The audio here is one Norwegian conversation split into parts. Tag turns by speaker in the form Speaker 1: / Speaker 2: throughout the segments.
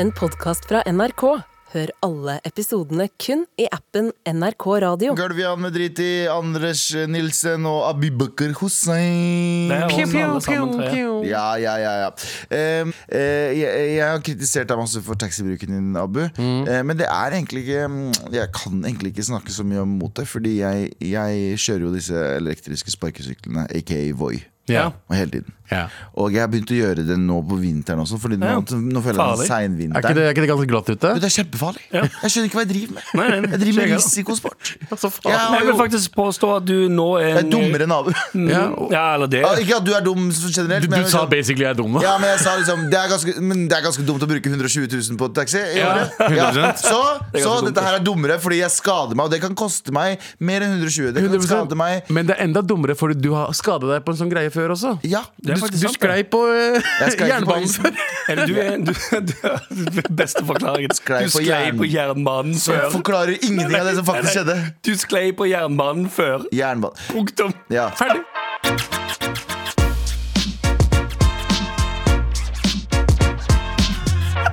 Speaker 1: en podkast fra NRK. Hør alle episodene kun i appen NRK Radio.
Speaker 2: Gulvian med drit i Anders Nilsen og Abibakar Hussein.
Speaker 3: Det er
Speaker 4: Pew,
Speaker 3: oss
Speaker 4: pew,
Speaker 3: alle sammen
Speaker 4: pew,
Speaker 3: tre.
Speaker 4: pew.
Speaker 2: Ja, ja, ja, ja. Ehm, eh, jeg, jeg har kritisert deg masse for taxibruken din, Abu.
Speaker 3: Mm.
Speaker 2: Eh, men det er egentlig ikke mm, Jeg kan egentlig ikke snakke så mye om mot det, fordi jeg, jeg kjører jo disse elektriske sparkesyklene, aka Voi,
Speaker 3: Ja.
Speaker 2: hele tiden.
Speaker 5: Ja.
Speaker 2: Og jeg har begynt å gjøre det nå på vinteren også, Fordi nå,
Speaker 3: Ja.
Speaker 2: nå føler jeg
Speaker 3: Farlig.
Speaker 2: den
Speaker 5: Er ikke
Speaker 2: seinvinteren.
Speaker 5: det, er ikke det ganske glatt ute?
Speaker 2: Men Det er kjempefarlig. Jeg skjønner ikke hva jeg driver med.
Speaker 3: Nei, nei, nei.
Speaker 2: jeg driver med
Speaker 3: Skjønner.
Speaker 2: risikosport.
Speaker 5: Altså, faen.
Speaker 2: Ja,
Speaker 3: Jeg vil
Speaker 2: jo.
Speaker 3: faktisk påstå at du nå er
Speaker 2: Jeg er dummere enn Abu.
Speaker 5: Ja,
Speaker 3: Ja,
Speaker 5: og-
Speaker 3: eller det.
Speaker 2: Ja, Ikke at du er dum generelt.
Speaker 5: Du,
Speaker 2: men
Speaker 5: du
Speaker 2: jeg-
Speaker 5: sa basically jeg er dum, da.
Speaker 2: Ja, men jeg sa liksom det er ganske, Men det er ganske dumt å bruke 120 000 på taxi i
Speaker 5: Ja,
Speaker 2: året.
Speaker 5: 100%.
Speaker 2: Så,
Speaker 3: er ganske
Speaker 2: så
Speaker 3: dumt.
Speaker 2: dette her er dummere fordi jeg skader meg, og det kan koste meg mer enn 120. Det kan
Speaker 5: 100%.
Speaker 2: skade meg
Speaker 5: Men det er enda dummere, for du har skada deg på en sånn greie før også.
Speaker 2: Ja.
Speaker 5: Du,
Speaker 3: er faktisk
Speaker 5: du
Speaker 3: sant, det.
Speaker 5: skrei på sånn eh,
Speaker 2: Jeg skrei ikke på
Speaker 5: jernbanen
Speaker 2: isen.
Speaker 5: før.
Speaker 3: Eller du er du, du, Beste forklaringen.
Speaker 2: Sklei
Speaker 3: Du
Speaker 2: på
Speaker 3: sklei
Speaker 2: jern-
Speaker 3: på jernbanen
Speaker 2: Så jeg
Speaker 3: før.
Speaker 2: forklarer ingenting av det som faktisk skjedde.
Speaker 3: Du sklei på jernbanen før.
Speaker 2: Jernbane.
Speaker 3: Punktum.
Speaker 2: Ja.
Speaker 3: Ferdig.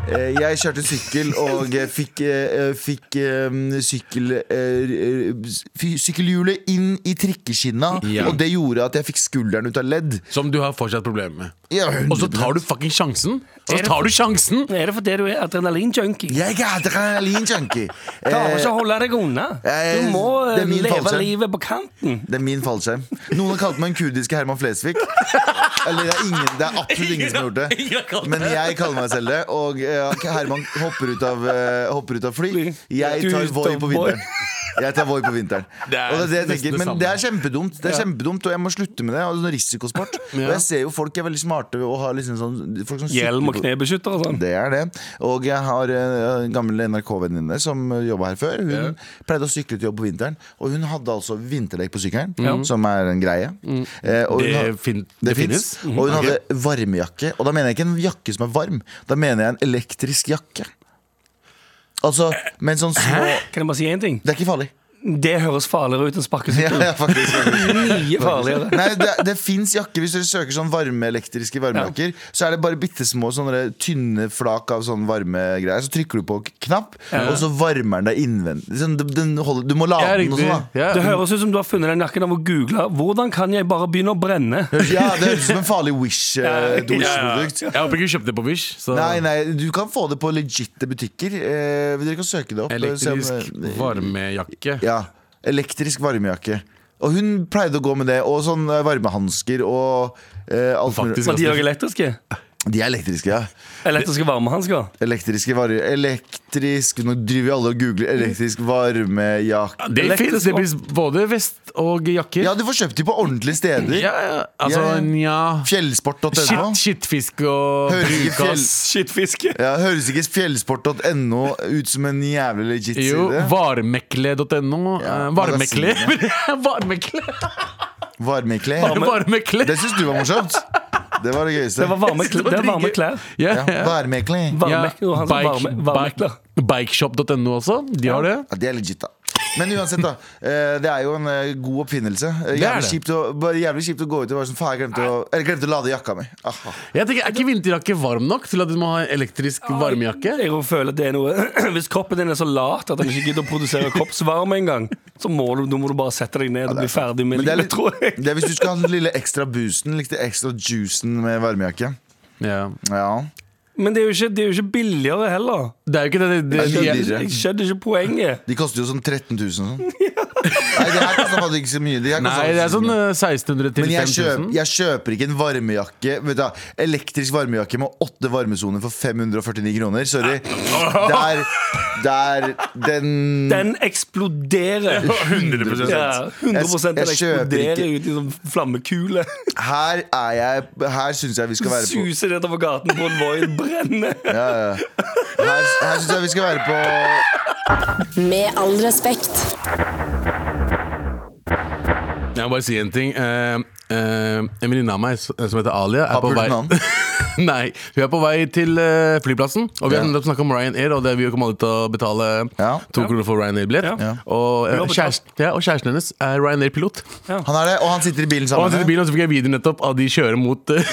Speaker 2: Eh, Jeg kjørte sykkel og eh, fikk, eh, fikk eh, sykkel, eh, fy- sykkelhjulet inn i trikkeskinna.
Speaker 5: Ja.
Speaker 2: Og det gjorde at jeg fikk skulderen ut av ledd.
Speaker 5: Som du har fortsatt problemer med.
Speaker 2: Ja,
Speaker 5: Og så tar du fucking sjansen! Og så
Speaker 3: Er det-
Speaker 5: tar du sjansen!
Speaker 3: Er det fordi du er adrenalinjunkie?
Speaker 2: Jeg er adrenalinjunkie.
Speaker 3: Klarer
Speaker 2: Eh,
Speaker 3: ikke å holde deg unna. Du
Speaker 2: jeg-
Speaker 3: må eh,
Speaker 2: det er min
Speaker 3: leve
Speaker 2: fallskjerm.
Speaker 3: livet på kanten.
Speaker 2: Det er min fallskjerm. Noen har kalt meg den kurdiske Herman Flesvig. Eller det er, ingen, det er absolutt ingen som har gjort
Speaker 5: Ingen har kalt
Speaker 2: det.
Speaker 5: det.
Speaker 2: Men jeg kaller meg selv det. Og eh, Herman hopper ut av, eh, hopper ut av fly. Jeg
Speaker 3: Du
Speaker 2: tar Voi
Speaker 3: tar
Speaker 2: på
Speaker 3: Voi.
Speaker 2: vinteren. Jeg tar Voi på vinteren. Og
Speaker 5: Det er
Speaker 2: det er det jeg
Speaker 5: nesten
Speaker 2: tenker.
Speaker 5: det
Speaker 2: Men
Speaker 5: samme.
Speaker 2: det er kjempedumt, Det er kjempedumt og jeg må slutte med det. Og det er sånn risikosport. Og jeg ser jo folk er veldig smarte og har liksom sånn folk som
Speaker 3: Hjelm
Speaker 2: sykler
Speaker 3: og
Speaker 2: på-
Speaker 3: knebeskytter og sånn.
Speaker 2: det er det. Og jeg har eh, en gammel NRK-venninne som jobba her før. Hun pleide å sykle til jobb på vinteren, og hun hadde altså vinterdekk på sykkelen, som er en greie. Eh, og hun
Speaker 5: Mm. Det
Speaker 2: har-
Speaker 5: fin-
Speaker 2: det
Speaker 5: det
Speaker 2: finnes.
Speaker 5: finnes? Mm.
Speaker 2: Og hun hadde varmejakke, og da mener jeg ikke en jakke som er varm, da mener jeg en elektrisk jakke. Altså, med en sånn små
Speaker 3: Kan jeg bare si én ting?
Speaker 2: Det er ikke farlig.
Speaker 3: Det høres farligere ut enn
Speaker 2: Ja,
Speaker 3: sparkesykkel.
Speaker 2: ja, faktisk, faktisk.
Speaker 3: Mye farligere.
Speaker 2: Nei, det, det fins jakker. Hvis dere søker sånn varme elektriske varmejakker, så er det bare bitte små sånne der tynne flak av sånn varmegreier. Så trykker du på k- knapp, og så varmer den deg innvendig. Sånn, den- den holder, du må lade
Speaker 5: Ja,
Speaker 2: den og
Speaker 5: riktig.
Speaker 2: sånn, da.
Speaker 5: Ja.
Speaker 3: Det høres ut som du har funnet den jakken av å google 'Hvordan kan jeg bare begynne å brenne?'
Speaker 2: Ja, det høres ut som en farlig Wish, eh, et
Speaker 5: Ja, ja.
Speaker 2: Wish-produkt.
Speaker 5: Jeg håper ikke du kjøpte det på Wish. Så.
Speaker 2: Nei, nei, du kan få det på legitte butikker. Eh, dere kan søke det opp. eh, se om-
Speaker 5: Elektrisk varmejakke.
Speaker 2: Ja, elektrisk varmejakke. Og hun pleide å gå med det, og sånn eh, varmehansker og eh, alt mulig.
Speaker 5: Faktisk.
Speaker 3: Men de er jo elektriske.
Speaker 2: De er elektriske, ja.
Speaker 3: Elektriske varmehansker.
Speaker 2: Elektriske varer Elektrisk Nå driver vi alle og googler elektrisk varmejakke.
Speaker 5: Det
Speaker 3: Elektrisk
Speaker 5: fins. Det fins både vest og jakker.
Speaker 2: Ja, du får kjøpt de på ordentlige steder.
Speaker 5: Ja, ja. Altså,
Speaker 2: Ja, ja.
Speaker 5: nja
Speaker 2: Fjellsport.no.
Speaker 5: Shit, Shitfisk og
Speaker 2: Hører ikke
Speaker 5: brukas.
Speaker 3: Skittfiske.
Speaker 2: Ja, høres ikke fjellsport.no ut som en jævlig legit
Speaker 5: Jo,
Speaker 2: side?
Speaker 5: varmekle.no.
Speaker 2: Ja,
Speaker 5: eh, varmekle. varmekle.
Speaker 2: Varmekle.
Speaker 5: Varmekle.
Speaker 2: Det syns du var morsomt? Det var det gøyeste.
Speaker 3: Det var varme,
Speaker 5: Det var
Speaker 3: det er varme
Speaker 5: dritgøy.
Speaker 3: klær.
Speaker 5: Ja,
Speaker 2: ja,
Speaker 5: ja.
Speaker 2: varmekle.
Speaker 3: Varme,
Speaker 5: Ja,
Speaker 3: og han som
Speaker 5: bike-
Speaker 3: varme, varmekler.
Speaker 5: bike- Bikeshop.no også. altså. De har det.
Speaker 2: Ja, det er legit, da. Men uansett, da. eh, Det er jo en eh, god oppfinnelse. Eh,
Speaker 5: Det er
Speaker 2: Jævlig
Speaker 5: det.
Speaker 2: kjipt å, bare jævlig kjipt å gå ut og være sånn Faen, jeg glemte å, eller, glemte å lade jakka mi. Aha.
Speaker 5: Jeg tenker, Er ikke vinterjakke varm nok til at du må ha elektrisk varmejakke?
Speaker 3: Jeg føler at det er noe Hvis kroppen din er så lat at den ikke gidder å produsere kroppsvarme engang, så må du, da må du bare sette deg ned og bli ferdig med
Speaker 2: Men det er,
Speaker 3: livet,
Speaker 2: litt,
Speaker 3: tror jeg.
Speaker 2: det er hvis du skal ha den lille ekstra boosten, litt ekstra juicen med varmejakke.
Speaker 5: Ja.
Speaker 2: Ja.
Speaker 3: Men det er jo ikke, det er jo ikke billigere heller.
Speaker 5: Det er jo ikke det, det, det,
Speaker 2: Er det
Speaker 5: jeg-
Speaker 2: billigere?
Speaker 3: Jeg skjønner ikke poenget.
Speaker 2: De koster jo sånn 13 000 sånn. Nei, det her koster faktisk ikke så mye. Det her koster
Speaker 5: Nei, det er
Speaker 2: faktisk ikke så
Speaker 5: sånn
Speaker 2: mye.
Speaker 5: eh, 1600 til
Speaker 2: men jeg, kjøp,
Speaker 5: 5000.
Speaker 2: jeg kjøper ikke en varmejakke vet du, hva, Elektrisk varmejakke med åtte varmesoner for 549 kroner. Sorry. Der, der Den,
Speaker 3: Den eksploderer.
Speaker 5: 100%.
Speaker 3: Ja, 100 den
Speaker 2: Jeg- jeg kjøper
Speaker 3: eksploderer
Speaker 2: ikke.
Speaker 3: ut i sånn flammekule.
Speaker 2: Her er jeg Her syns jeg vi skal være på
Speaker 3: Suser nedover gaten på en Void, brenner.
Speaker 2: ja, ja. Her, her syns jeg vi skal være på
Speaker 1: Med all respekt.
Speaker 5: Jeg må bare si en ting. Eh, eh, en venninne av meg s- som heter Alia, er på
Speaker 2: Har
Speaker 5: vei
Speaker 2: pult
Speaker 5: Nei, hun er på vei til eh, flyplassen. Og vi
Speaker 2: Ja.
Speaker 5: har nettopp snakka om Ryanair, og det vi kommer alle til å betale
Speaker 2: Ja.
Speaker 5: to kroner for Ryanair-billett.
Speaker 3: Ja.
Speaker 5: Og, eh,
Speaker 3: Hun har betalt.
Speaker 5: kjæresten- ja, og kjæresten hennes er Ryanair-pilot.
Speaker 2: Han er det, og han sitter i bilen
Speaker 5: Og
Speaker 2: sammen
Speaker 5: han sitter i
Speaker 2: med
Speaker 5: bilen, og så fikk jeg video nettopp av de kjører mot eh,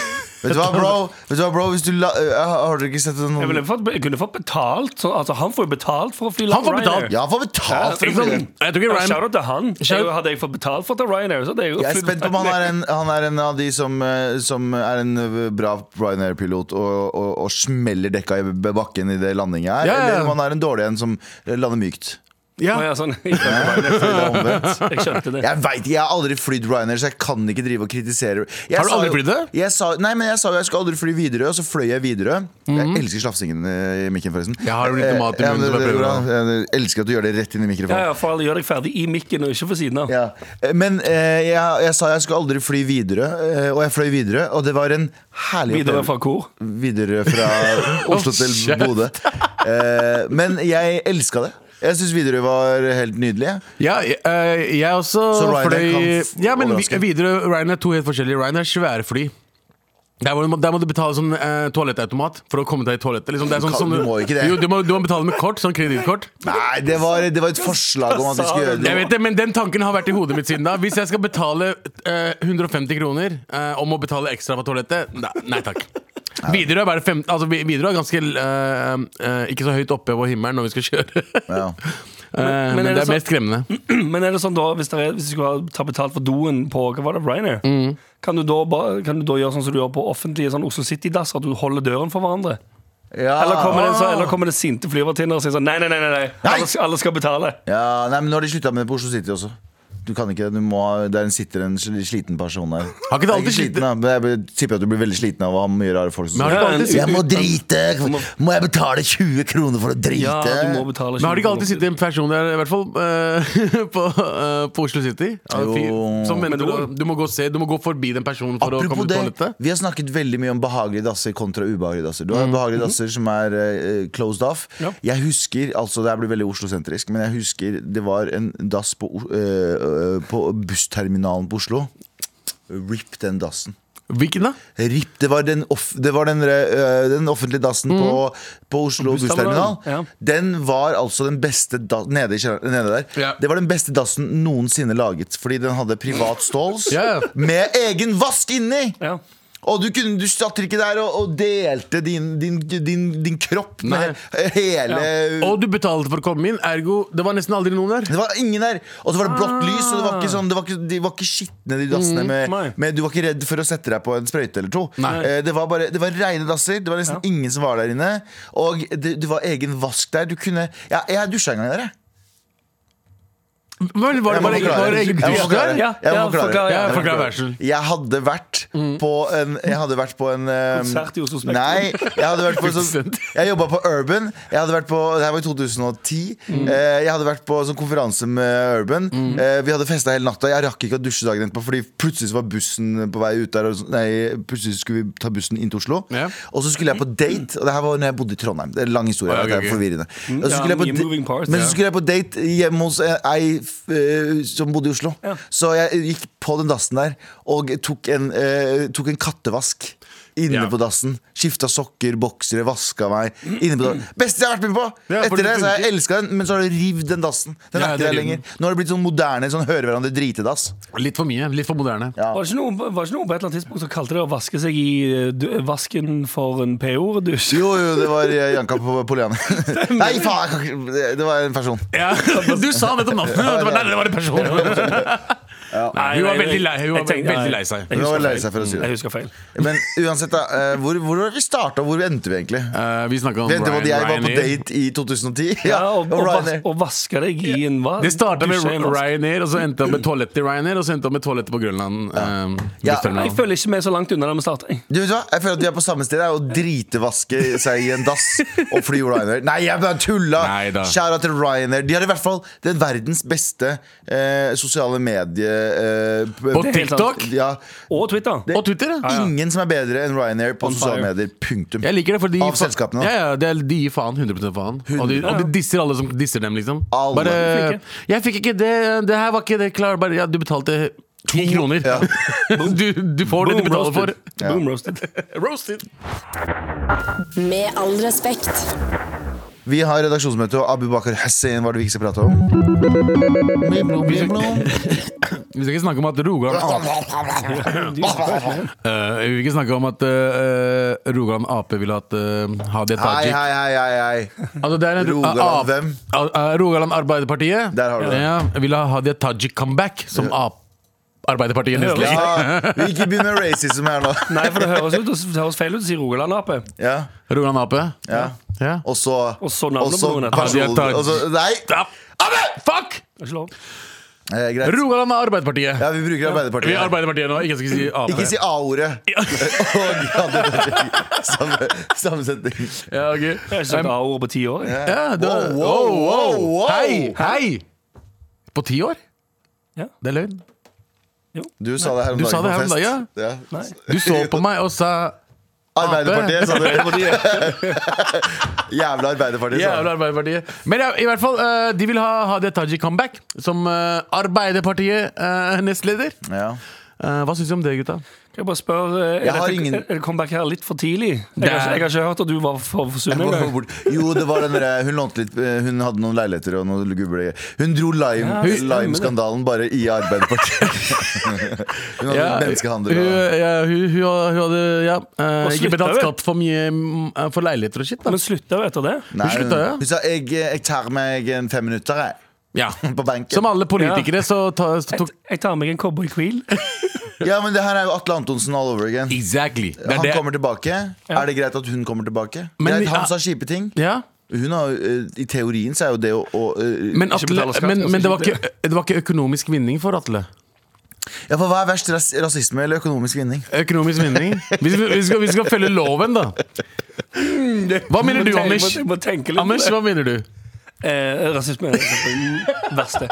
Speaker 2: Vet du hva, bro? Vet du hva, bro? Hvis du la, eh, har dere ikke sett den
Speaker 3: Jeg, ville fått, jeg kunne fått betalt. Så, altså, han får jo betalt for å fly
Speaker 5: Han får
Speaker 3: Ryanair.
Speaker 5: betalt,
Speaker 2: Ja, han får betalt
Speaker 3: sånn-
Speaker 2: liksom. for å fly den.
Speaker 5: Jeg tror ikke
Speaker 3: Ja,
Speaker 5: Ryan-
Speaker 3: Shout-out til han.
Speaker 5: Shout-
Speaker 3: Jeg, hadde jeg fått betalt for det Ryanair, så hadde jeg jo
Speaker 2: Jeg er
Speaker 3: flyttet-
Speaker 2: spent på om han er en, han er en av de som, eh, som er en eh, bra Ryanair-pilot og, og, og smeller dekka i b- bakken i det landinget her,
Speaker 5: Ja, ja, ja.
Speaker 2: eller om han er en dårlig en som lander mykt.
Speaker 5: Ja.
Speaker 3: Å, ja, sånn. Jeg skjønte
Speaker 2: Det er omvendt.
Speaker 3: det. Jeg skjønte det.
Speaker 2: Jeg vet, ikke, jeg har aldri flydd Ryanair, så jeg kan ikke drive og kritisere jeg
Speaker 5: Har du
Speaker 2: sa
Speaker 5: aldri
Speaker 2: jo-
Speaker 5: flydd det?
Speaker 2: Jeg sa, nei, men jeg sa jo jeg skal aldri fly Widerøe, og så fløy jeg Widerøe. Jeg elsker slafsingen eh, i mikken, forresten.
Speaker 5: Jeg Mhm. har jo litt mat i
Speaker 2: Eh, ja,
Speaker 5: munnen som
Speaker 2: det-
Speaker 5: jeg
Speaker 2: det går
Speaker 5: prøver å-
Speaker 2: an. Jeg elsker at du gjør det rett inn i mikrofonen.
Speaker 3: Ja, ja, for alle gjør deg ferdig i mikken og ikke for siden av.
Speaker 2: Ja. Eh, Men eh, jeg, jeg sa jeg skulle aldri fly Widerøe, eh, og jeg fløy Widerøe, og det var en herlig
Speaker 3: Videre
Speaker 2: opplevelse.
Speaker 3: fra kor.
Speaker 2: Widerøe fra Oslo til Bodø. Eh, men jeg elska det. Jeg syns Widerøe var helt nydelig. jeg.
Speaker 5: Ja, jeg, eh, jeg også
Speaker 2: Så Ryanair
Speaker 5: fløy
Speaker 2: kan f-
Speaker 5: Ja, men vi-
Speaker 2: overraske.
Speaker 5: videre Ryanair er to helt forskjellige. Ryanair er svære fly. Der må, du, der må du betale sånn eh, toalettautomat for å komme deg i toalettet. Liksom. Det er
Speaker 2: Du
Speaker 5: sånn,
Speaker 2: kan-
Speaker 5: som-
Speaker 2: du må ikke det.
Speaker 5: Jo, du må, du må betale med kort, sånn kredittkort.
Speaker 2: Nei, det var, det var et forslag om at vi skulle gjøre det.
Speaker 5: Jeg vet det, men den tanken har vært i hodet mitt siden da. Hvis jeg skal betale eh, 150 kroner eh, om å betale ekstra for toalettet, nei, nei takk. Widerøe er bare fem, altså, Vi- Widerøe er ganske eh, eh, ikke så høyt oppe på himmelen når vi skal kjøre.
Speaker 2: Ja.
Speaker 5: Eh, men,
Speaker 3: men er det
Speaker 5: det er mest skremmende.
Speaker 3: Men er det sånn da, hvis, det er, hvis du skulle ha- ta betalt for doen på hva var det, Ryanair,
Speaker 2: Mm.
Speaker 3: kan, du da, ba- kan du da gjøre sånn som du gjør på offentlige sånn Oslo City-dass, at du holder døren for hverandre?
Speaker 2: Ja.
Speaker 3: Eller kommer det,
Speaker 5: Ah.
Speaker 3: så, eller kommer det sinte flyvertinner og sier sånn Nei, nei, nei, nei, nei.
Speaker 2: Nei!
Speaker 3: Alle, skal- alle skal betale.
Speaker 2: Ja, nei, men Nå har de slutta med det på Oslo City også. Du kan ikke, du må, Der sitter en sl- sliten person der.
Speaker 5: Har ikke det alltid
Speaker 2: Jeg er sliten, da, men jeg blir- tipper at du blir veldig sliten av å ha mye rare folk som
Speaker 5: Men har
Speaker 2: sier,
Speaker 5: det ikke alltid
Speaker 2: Jeg må drite! Må jeg betale 20 kroner for å drite?
Speaker 3: Ja, du må betale
Speaker 5: Men har det ikke alltid
Speaker 3: kroner.
Speaker 5: sittet en person der, i hvert fall eh, på, eh, på Oslo City? Av en fyr
Speaker 2: Jo.
Speaker 5: Som venter,
Speaker 3: Men
Speaker 5: og- du må gå og se, du må gå forbi den personen for å
Speaker 2: Apropos
Speaker 5: komme til
Speaker 2: det,
Speaker 5: toalettet.
Speaker 2: vi har snakket veldig mye om behagelige dasser kontra ubehagelige dasser. Du har behagelige dasser som er eh, closed off.
Speaker 3: Ja.
Speaker 2: Jeg husker, altså det her blir veldig Oslo-sentrisk, men jeg husker det var en dass på, O- eh, eh, på bussterminalen på Oslo. Rip den dassen.
Speaker 5: Hvilken da?
Speaker 2: Rip, det var den, off, det var den, øh, den offentlige dassen på, på Oslo
Speaker 3: Bussterminalen,
Speaker 2: bussterminal.
Speaker 3: ja.
Speaker 2: Den var altså den beste da, nede, i kjelleren- nede der.
Speaker 5: Ja.
Speaker 2: Det var den beste dassen noensinne laget, fordi den hadde privat stalls
Speaker 5: Ja, ja.
Speaker 2: med egen vask inni!
Speaker 3: Ja.
Speaker 2: Og du, kunne, du satt ikke der og, og delte din, din, din, din kropp med hele
Speaker 5: Og du betalte for å komme inn, ergo det var nesten aldri noen der.
Speaker 2: det var ingen der! Og så var det blått lys, og det var ikke sånn, det var ikke, de var ikke skitne, de dassene.
Speaker 3: nei.
Speaker 2: Med, med, du var ikke redd for å sette deg på en sprøyte eller to. Eh, Det var, bare, det var reine dasser. Det var nesten ingen som var der inne. Og det, det var egen vask der. Du kunne Ja, jeg dusja en gang der, jeg.
Speaker 5: Men var det
Speaker 2: Jeg må
Speaker 5: bare egen-
Speaker 2: forklare.
Speaker 5: var det egen
Speaker 2: Jeg må
Speaker 5: dusj
Speaker 2: forklare.
Speaker 5: der?
Speaker 3: Ja,
Speaker 2: Jeg må
Speaker 3: ja,
Speaker 2: forklare.
Speaker 3: forklare.
Speaker 5: Ja,
Speaker 3: Ja,
Speaker 5: forklar vær så snill.
Speaker 2: Jeg hadde vært
Speaker 5: Mm.
Speaker 2: på en Jeg hadde vært på en eh,
Speaker 3: Konsert i Oslo Spektrum.
Speaker 2: Nei, jeg hadde vært på en sånn Jeg jobba på Urban. Jeg hadde vært på Det her var i 2010.
Speaker 5: Mm.
Speaker 2: Eh, Jeg hadde vært på sånn konferanse med Urban. Eh, Vi hadde festa hele natta. Jeg rakk ikke å dusje dagen etterpå, Fordi plutselig så var bussen på vei ut der. og så- Nei, plutselig skulle vi ta bussen inn til Oslo.
Speaker 5: Ja.
Speaker 2: Og så skulle jeg på date. Og det her var når jeg bodde i Trondheim. Det er en lang historie. jeg
Speaker 5: Å, ja,
Speaker 2: vet,
Speaker 5: ok,
Speaker 2: det er
Speaker 5: ok.
Speaker 2: forvirrende. Og så
Speaker 3: Mm. Ja,
Speaker 2: skulle jeg på
Speaker 3: mye
Speaker 2: da-
Speaker 3: moving parts,
Speaker 2: Men
Speaker 3: ja.
Speaker 2: så skulle jeg på date hjemme hos eh, ei f- eh, som bodde i Oslo. Så jeg gikk på den dassen der og tok en, eh, tok en kattevask inne
Speaker 5: Ja.
Speaker 2: på dassen. Skifta sokker, boksere, vaska meg. Inne på dassen. Beste jeg har vært med på!
Speaker 5: Ja,
Speaker 2: Etter
Speaker 5: for det
Speaker 2: det så har jeg
Speaker 5: funker.
Speaker 2: elska den, men så har du rivd den dassen. Den
Speaker 5: Ja,
Speaker 2: er ikke
Speaker 5: det er
Speaker 2: der
Speaker 5: rivd.
Speaker 2: lenger. Nå har det blitt sånn moderne sånn høre hverandre dritedass.
Speaker 5: Litt for mye. Litt for moderne.
Speaker 2: Ja.
Speaker 3: Var det, ikke noe, var det ikke noe på et eller annet tidspunkt som kalte det å vaske seg i eh, du- vasken for en PO-dusj?
Speaker 2: Jo, jo, det var eh, Janka på Poliane. Nei, faen! jeg kan ikke- det- Det var en person.
Speaker 5: Ja, du sa dette om natten! Det var, nei, det var en person. Hun var veldig lei, hun var veldig lei seg.
Speaker 2: Hun var lei seg for å si det.
Speaker 3: Jeg husker feil.
Speaker 2: Men uansett, da. eh, Hvor, hvor var det vi starta, og hvor endte vi egentlig?
Speaker 5: Eh, vi snakka om
Speaker 2: Vente på at jeg var på
Speaker 5: Ryanair.
Speaker 2: date i 2010. Ja,
Speaker 3: Ja, og, og,
Speaker 2: og
Speaker 3: vas
Speaker 2: Ryanair.
Speaker 3: og vaske deg i en hva?
Speaker 5: Det starta med
Speaker 3: dusje i en vask.
Speaker 5: Ryanair, og så endte det opp med toalettet i Ryanair, og så endte det opp med toalettet på Grønland. eh,
Speaker 2: Ja.
Speaker 5: Vestlandet.
Speaker 3: Jeg føler ikke vi er så langt unna der vi starter. Jeg.
Speaker 2: Du vet hva? Jeg føler at vi er på samme sted. Det er Å dritevaske seg i en dass og fly Ryanair. Nei, jeg bare tulla!
Speaker 5: Neida.
Speaker 2: Kjære til Ryanair. De har i hvert fall den verdens beste eh, sosiale medie... Eh, p-
Speaker 5: På
Speaker 3: Det er helt
Speaker 5: TikTok
Speaker 3: sant.
Speaker 2: ja.
Speaker 3: Og Twitter.
Speaker 5: og Twitter. ja.
Speaker 2: Ingen som er bedre enn Ryanair på
Speaker 3: On
Speaker 2: sosiale
Speaker 3: fire.
Speaker 2: medier. Punktum.
Speaker 5: Jeg liker det, for de
Speaker 2: Av selskapene, da.
Speaker 5: Ja, ja, de, de gir faen. 100 faen. Og de, og de disser alle som disser dem, liksom.
Speaker 2: Alle.
Speaker 5: Bare
Speaker 3: Flinke.
Speaker 5: Jeg fikk ikke det, det her var ikke det klar Bare ja, du betalte ti kroner.
Speaker 2: Ja.
Speaker 5: Du, du får det
Speaker 3: Boom
Speaker 5: du betaler
Speaker 3: roasted.
Speaker 5: for.
Speaker 3: Boom roasted.
Speaker 5: Roasted.
Speaker 1: Med all respekt.
Speaker 2: Vi har redaksjonsmøte, og Abu Bakar Hussein var det vi ikke skal prate om.
Speaker 5: Vi skal ikke snakke om at Rogaland Eh, Vi vil ikke snakke om at eh, Rogaland Ap vil at eh, Hadia
Speaker 2: Hei,
Speaker 5: Tajik
Speaker 2: hei, hei, hei, hei.
Speaker 5: altså, det er en,
Speaker 2: Rogaland
Speaker 5: Ap-
Speaker 2: hvem?
Speaker 5: Al- eh, Rogaland Arbeiderpartiet
Speaker 2: Der har du det.
Speaker 5: ja, vil ha Hadia Tajik comeback som Ap Arbeiderpartiet neste
Speaker 3: Ja.
Speaker 2: Ja, vi ikke begynn med racism her nå.
Speaker 3: Nei, for det høres, ut, det høres feil ut å si Rogaland Ap.
Speaker 2: Ja,
Speaker 5: Rogaland Ap.
Speaker 2: ja.
Speaker 5: Ja.
Speaker 2: Og så
Speaker 3: Og så navnet
Speaker 2: og så
Speaker 3: på noen etter.
Speaker 2: personen og så- Nei!
Speaker 5: Ja. Ape! Fuck!
Speaker 3: Det er ikke lov.
Speaker 2: Eh, greit.
Speaker 5: Rogaland er Arbeiderpartiet.
Speaker 2: Ja, vi bruker
Speaker 5: Vi er
Speaker 2: Arbeiderpartiet.
Speaker 5: Arbeiderpartiet nå, ikke skal si Ap.
Speaker 2: Ikke si A-ordet. Og Arbeiderpartiet. Samme, samme setning.
Speaker 5: ja, ok.
Speaker 3: Jeg har ikke sagt A-ordet på ti år. jeg.
Speaker 5: Ja, det, Oh,
Speaker 2: Wow, wow, wow, wow.
Speaker 5: Hei, hei! På ti år?
Speaker 3: Ja.
Speaker 5: Det er løgn.
Speaker 2: Du sa det her om
Speaker 5: Du sa det her om
Speaker 2: på
Speaker 5: dagen,
Speaker 2: fest. Ja.
Speaker 3: Nei.
Speaker 5: Du så på meg og sa
Speaker 2: Arbeiderpartiet, sa du.
Speaker 3: Arbeiderpartiet.
Speaker 2: Jævla Arbeiderpartiet. sa du.
Speaker 5: Jævla Arbeiderpartiet. Men ja, i hvert fall, eh, de vil ha Hadia Tajik comeback som eh, Arbeiderpartiet-nestleder.
Speaker 2: Ja.
Speaker 5: Eh, hva syns du om det, gutta?
Speaker 3: Kan jeg bare spørre eh,
Speaker 2: Jeg
Speaker 3: Er,
Speaker 2: har
Speaker 3: dette-
Speaker 2: ingen-
Speaker 3: er det comeback her litt for tidlig? Jeg har,
Speaker 5: Det er-
Speaker 3: ikke- jeg har ikke hørt at du var for for sunn
Speaker 2: Jeg går
Speaker 3: engang.
Speaker 2: bort. Jo, det var den der, hun lånte litt eh, Hun hadde noen leiligheter og noe guble Hun dro lime-
Speaker 3: Ja, stemmer det.
Speaker 2: Lime-skandalen bare i Arbeiderpartiet. Hun hadde
Speaker 5: hun,
Speaker 2: menneskehandel og
Speaker 5: ja, hun, hun, hun hadde ja,
Speaker 3: Og
Speaker 5: eh, ikke
Speaker 3: slutta,
Speaker 5: betalt
Speaker 3: vel?
Speaker 5: skatt for mye mm, eh, for leiligheter og shit. Da.
Speaker 3: Men slutta jo etter det.
Speaker 2: Nei,
Speaker 5: hun
Speaker 2: hun,
Speaker 5: slutta, ja.
Speaker 2: hun sa jeg, 'jeg tar meg en fem minutter, jeg'.
Speaker 5: Ja.
Speaker 2: På benken.
Speaker 5: Som alle politikere, så, ta, så
Speaker 3: Jeg,
Speaker 5: tok
Speaker 3: jeg tar meg en cowboy-queel.
Speaker 2: Ja, men det her er jo Atle Antonsen all over again.
Speaker 5: Exactly. Det er
Speaker 2: Han
Speaker 5: det.
Speaker 2: kommer tilbake. Er det greit at hun kommer tilbake?
Speaker 5: Men
Speaker 2: Greit,
Speaker 5: vi-
Speaker 2: han sa kjipe ting.
Speaker 5: Ja.
Speaker 2: Hun har, eh, I teorien så er jo det å, å eh,
Speaker 5: Men,
Speaker 3: Ikke
Speaker 5: Atle,
Speaker 3: betale skatt,
Speaker 5: men,
Speaker 3: ganske
Speaker 5: men det, var
Speaker 3: kjipt,
Speaker 5: ikke, det var ikke økonomisk vinning for Atle.
Speaker 2: Ja, for Hva er verst? ras- Rasisme eller økonomisk vinning?
Speaker 5: Økonomisk vinning? Vi skal, vi skal, vi skal følge loven, da. Hva mener du,
Speaker 3: Jeg må-
Speaker 5: Anders?
Speaker 3: Jeg må tenke litt.
Speaker 5: Anders, hva mener du?
Speaker 3: Eh, rasisme er det verste.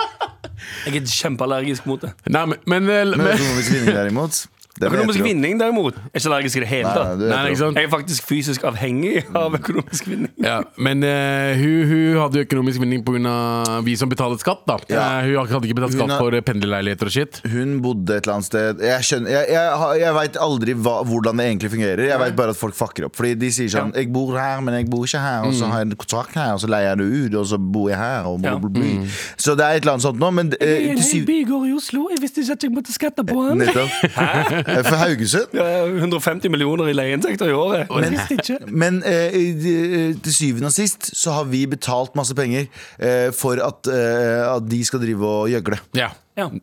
Speaker 3: Jeg er kjempeallergisk mot det.
Speaker 5: Nei, men, men, men,
Speaker 2: Men økonomisk vinning, derimot den heter
Speaker 3: Økonomisk
Speaker 2: jo-
Speaker 3: vinning, derimot, er ikke allergisk i det hele
Speaker 2: Nei, nei,
Speaker 3: tatt.
Speaker 2: det heter
Speaker 5: Nei,
Speaker 2: jo-
Speaker 5: ikke sant?
Speaker 3: Jeg er faktisk fysisk avhengig av økonomisk vinning.
Speaker 5: ja, men eh, hun, hun hadde jo økonomisk vinning pga. vi som betaler skatt. da
Speaker 2: Ja.
Speaker 5: Eh, Hun hadde ikke betalt
Speaker 2: Hun
Speaker 5: skatt
Speaker 2: har-
Speaker 5: for eh, pendlerleiligheter og shit.
Speaker 2: hun bodde et eller annet sted. Jeg, skjønner, jeg, jeg, har- jeg veit aldri hva, hvordan det egentlig fungerer. Jeg veit bare at folk fucker opp. Fordi de sier sånn 'Jeg bor her, men jeg bor ikke her.'
Speaker 5: Mm.
Speaker 2: Og så har jeg en kontrakt her, og så leier jeg det ut, og så bor jeg her, og bla,
Speaker 3: Ja.
Speaker 2: bla, bla.
Speaker 5: Mm.
Speaker 2: Så det er et eller annet sånt nå, men eh, til syv-
Speaker 3: bygård i Oslo. Jeg visste ikke at jeg måtte skatte på han.
Speaker 2: Nettopp. Eh, For Haugesund?
Speaker 3: 150 millioner i leieinntekter i året. Og jeg visste ikke.
Speaker 2: Men eh, de- til syvende og sist så har vi betalt masse penger eh, for at, eh, at de skal drive og gjøgle.
Speaker 5: Ja.
Speaker 3: Ja. Jeg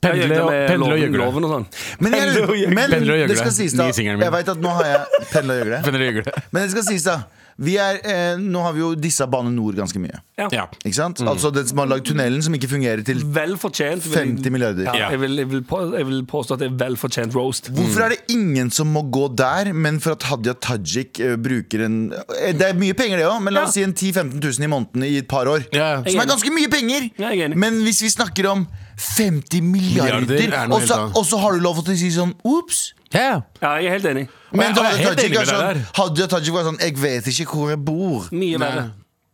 Speaker 5: Pendle,
Speaker 3: gjør det med
Speaker 5: pendle og
Speaker 3: loven-
Speaker 5: gjøgle.
Speaker 3: Loven og sånn.
Speaker 2: Men, jeg,
Speaker 3: Pendler og gjøgle.
Speaker 2: men
Speaker 5: Pendler og gjøgle.
Speaker 2: det skal sies da
Speaker 5: Nye singelen min.
Speaker 2: Jeg vet at nå har jeg Pendler og gjøgle.
Speaker 5: Pendle og gjøgle.
Speaker 2: Men det skal sies da vi er, eh, Nå har vi jo dissa Bane Nor ganske mye.
Speaker 5: Ja.
Speaker 2: Ikke sant?
Speaker 5: Mm.
Speaker 2: Altså den som har lagd tunnelen som ikke fungerer til
Speaker 3: Vel fortjent. vil-
Speaker 2: 50 milliarder.
Speaker 3: Ja, jeg, vil, jeg, vil på, jeg vil påstå at det er vel fortjent roast.
Speaker 5: Mm.
Speaker 2: Hvorfor er det ingen som må gå der, men for at Hadia Tajik eh, bruker en eh, Det er mye penger, det òg, men la oss si en 10 000-15 000 i måneden i et par år.
Speaker 5: Ja.
Speaker 2: Som er ganske mye penger!
Speaker 3: Ja, jeg er enig.
Speaker 2: Men hvis vi snakker om 50 milliarder,
Speaker 5: Milliarder er noe
Speaker 2: og så-
Speaker 5: helt annet.
Speaker 2: og så har du lov til å si sånn ops!
Speaker 5: Ja.
Speaker 3: Ja, jeg er helt enig.
Speaker 2: Men
Speaker 5: jeg er
Speaker 2: Hadia
Speaker 5: helt enig
Speaker 2: Tajik,
Speaker 5: med
Speaker 2: er
Speaker 5: deg
Speaker 2: sånn, Hadia Tajik var sånn Jeg vet ikke hvor jeg bor.
Speaker 3: Mye verre.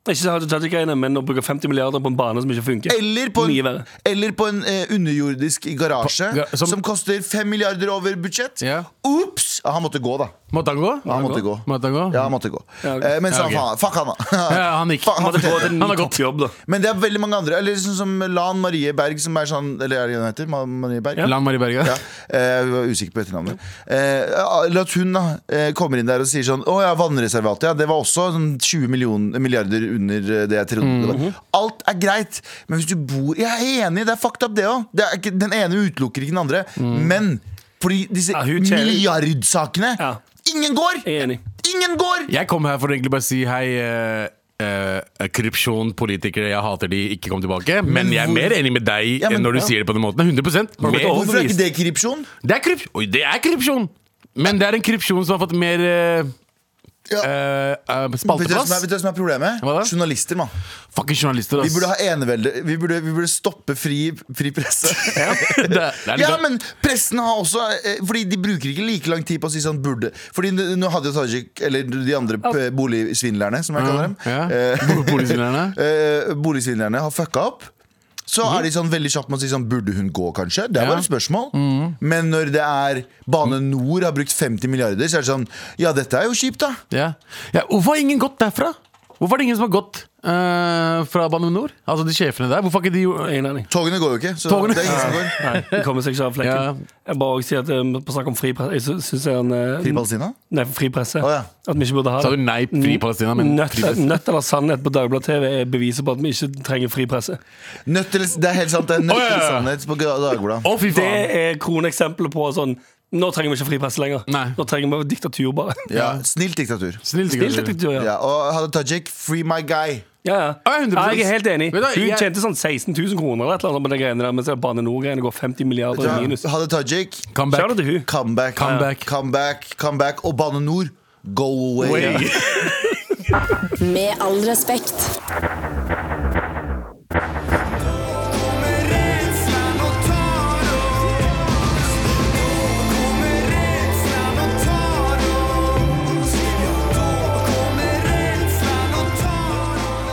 Speaker 3: Ikke så Hadia Tajik-greiene, men å bruke 50 milliarder på en bane som ikke funker.
Speaker 2: Eller på
Speaker 3: Mye
Speaker 2: en,
Speaker 3: verre.
Speaker 2: eller på en eh, underjordisk garasje
Speaker 5: På- ga- som-
Speaker 2: som, koster 5 milliarder over budsjett.
Speaker 5: Ja.
Speaker 2: Ops! Ja, han måtte gå, da.
Speaker 5: Måtte han gå?
Speaker 2: Ja, han måtte gå.
Speaker 5: Måtte han gå?
Speaker 2: Ja, han måtte gå.
Speaker 3: Ja, ok.
Speaker 2: Eh, men så
Speaker 5: Ja, ok.
Speaker 2: han faen, fuck han, da.
Speaker 5: Ja, han gikk.
Speaker 2: Fuck,
Speaker 3: Han
Speaker 2: han
Speaker 3: hadde
Speaker 2: fortjener
Speaker 3: gått
Speaker 2: det.
Speaker 3: en
Speaker 5: Han
Speaker 3: ny
Speaker 5: har gått.
Speaker 3: toppjobb, da.
Speaker 2: men det er veldig mange andre. Eller sånn som Lan Marie Berg, som er sånn Eller er det hun heter? Ma- Marie Berg?
Speaker 5: Lan Marie Berge.
Speaker 2: Ja. Eh, hun var usikker på etternavnet. Eh, eller at hun da eh, kommer inn der og sier sånn Å ja, vannreservatet. Ja, det var også sånn 20 million- milliarder under eh, det jeg trodde. det
Speaker 3: Mhm.
Speaker 2: var. Alt er greit, men hvis du bor Jeg er enig, det er fucked up, det òg. Den ene utelukker ikke den andre. Men fordi disse
Speaker 3: Mhm. Ja, hun tjener-
Speaker 2: milliardsakene
Speaker 3: Ja.
Speaker 2: Ingen går!
Speaker 3: Jeg er enig.
Speaker 2: Ingen går!
Speaker 5: Jeg kom her for å egentlig bare si hei. eh, eh, korrupsjon, politikere, jeg hater de, ikke kom tilbake. Men,
Speaker 2: Men
Speaker 5: jeg er
Speaker 2: hvor-
Speaker 5: mer enig med deg
Speaker 2: Ja, men-
Speaker 5: enn når du sier det på den måten. 100
Speaker 3: blitt
Speaker 5: mer,
Speaker 3: over-
Speaker 2: Hvorfor er ikke det korrupsjon?
Speaker 5: det, er korrup- Oi, det er korrupsjon! Men det er en korrupsjon som har fått mer eh,
Speaker 2: Ja.
Speaker 5: eh, eh,
Speaker 2: Vet du hva
Speaker 5: spalteplass.
Speaker 2: som er- vet du hva som er problemet?
Speaker 5: Hva da?
Speaker 2: Journalister, mann.
Speaker 5: Fucking journalister,
Speaker 2: Vi
Speaker 5: ass.
Speaker 2: burde ha enevelde. Vi burde, vi burde stoppe fri, fri presse.
Speaker 5: det, det er litt
Speaker 2: Ja, men pressen har også eh, Fordi de bruker ikke like lang tid på å si sånn burde Fordi n- nå hadde jo Tajik, eller de andre p- boligsvindlerne, som jeg kaller dem
Speaker 5: Ja.
Speaker 2: eh,
Speaker 5: Bo- boligsvindlerne? Mhm.
Speaker 2: eh, Boligsvindlerne har fucka opp så er de sånn veldig kjapt med å si sånn Burde hun gå, kanskje? Det var et spørsmål.
Speaker 5: Mhm.
Speaker 2: Men når det er Bane Nor har brukt 50 milliarder, så er det sånn Ja, dette er jo kjipt, da.
Speaker 5: Ja. Ja, hvorfor har ingen gått derfra? Hvorfor er det ingen som har gått eh, fra Bane Nor. Altså de sjefene der. Hvorfor har ikke de gjort
Speaker 3: Ingen aning.
Speaker 2: Togene går jo ikke, så
Speaker 5: Togene-
Speaker 2: det er ingen som går.
Speaker 3: Nei, det kommer seg ikke av
Speaker 5: Ja.
Speaker 3: flekken. Jeg bare også sier at eh, på snakk om fri presse Jeg sy- synes det er en eh,
Speaker 2: Fri Palestina?
Speaker 3: Nei, fri presse.
Speaker 2: Å, ja.
Speaker 3: At vi ikke burde ha
Speaker 5: Sa du
Speaker 3: det.
Speaker 5: nei, fri Palestina, men
Speaker 3: Nødt,
Speaker 5: fri presse?
Speaker 3: nødt eller sannhet på Dagbladet TV er beviset på at vi ikke trenger fri presse.
Speaker 2: Nødt til, det er helt sant, det er nødt
Speaker 5: Å, ja, ja,
Speaker 2: til
Speaker 5: ja.
Speaker 2: sannhet på Dagbladet.
Speaker 5: Å, fy
Speaker 3: Det er
Speaker 5: faen!
Speaker 3: kroneksempelet på sånn Nå trenger vi ikke fri presse lenger.
Speaker 5: Nei.
Speaker 3: Nå trenger vi diktatur, bare.
Speaker 2: Ja, snilt diktatur.
Speaker 5: Snill
Speaker 3: Stilt
Speaker 5: diktatur.
Speaker 3: diktatur, ja.
Speaker 2: Ja, og Hadia Tajik, free my guy.
Speaker 3: Ja, ja.
Speaker 5: Ja, 100%.
Speaker 3: jeg er helt enig.
Speaker 5: Vet du hva,
Speaker 3: Hun
Speaker 5: jeg-
Speaker 3: tjente sånn 16 000 kroner eller et eller annet på de greiene der, mens det Bane NOR-greiene går 50 milliarder
Speaker 2: Ja,
Speaker 3: i minus.
Speaker 2: Hadia Tajik,
Speaker 5: Comeback.
Speaker 3: Shout out til hun.
Speaker 2: comeback.
Speaker 5: Comeback.
Speaker 2: Comeback, comeback. Og Bane Nor, go away.
Speaker 5: Way.
Speaker 1: Med all respekt.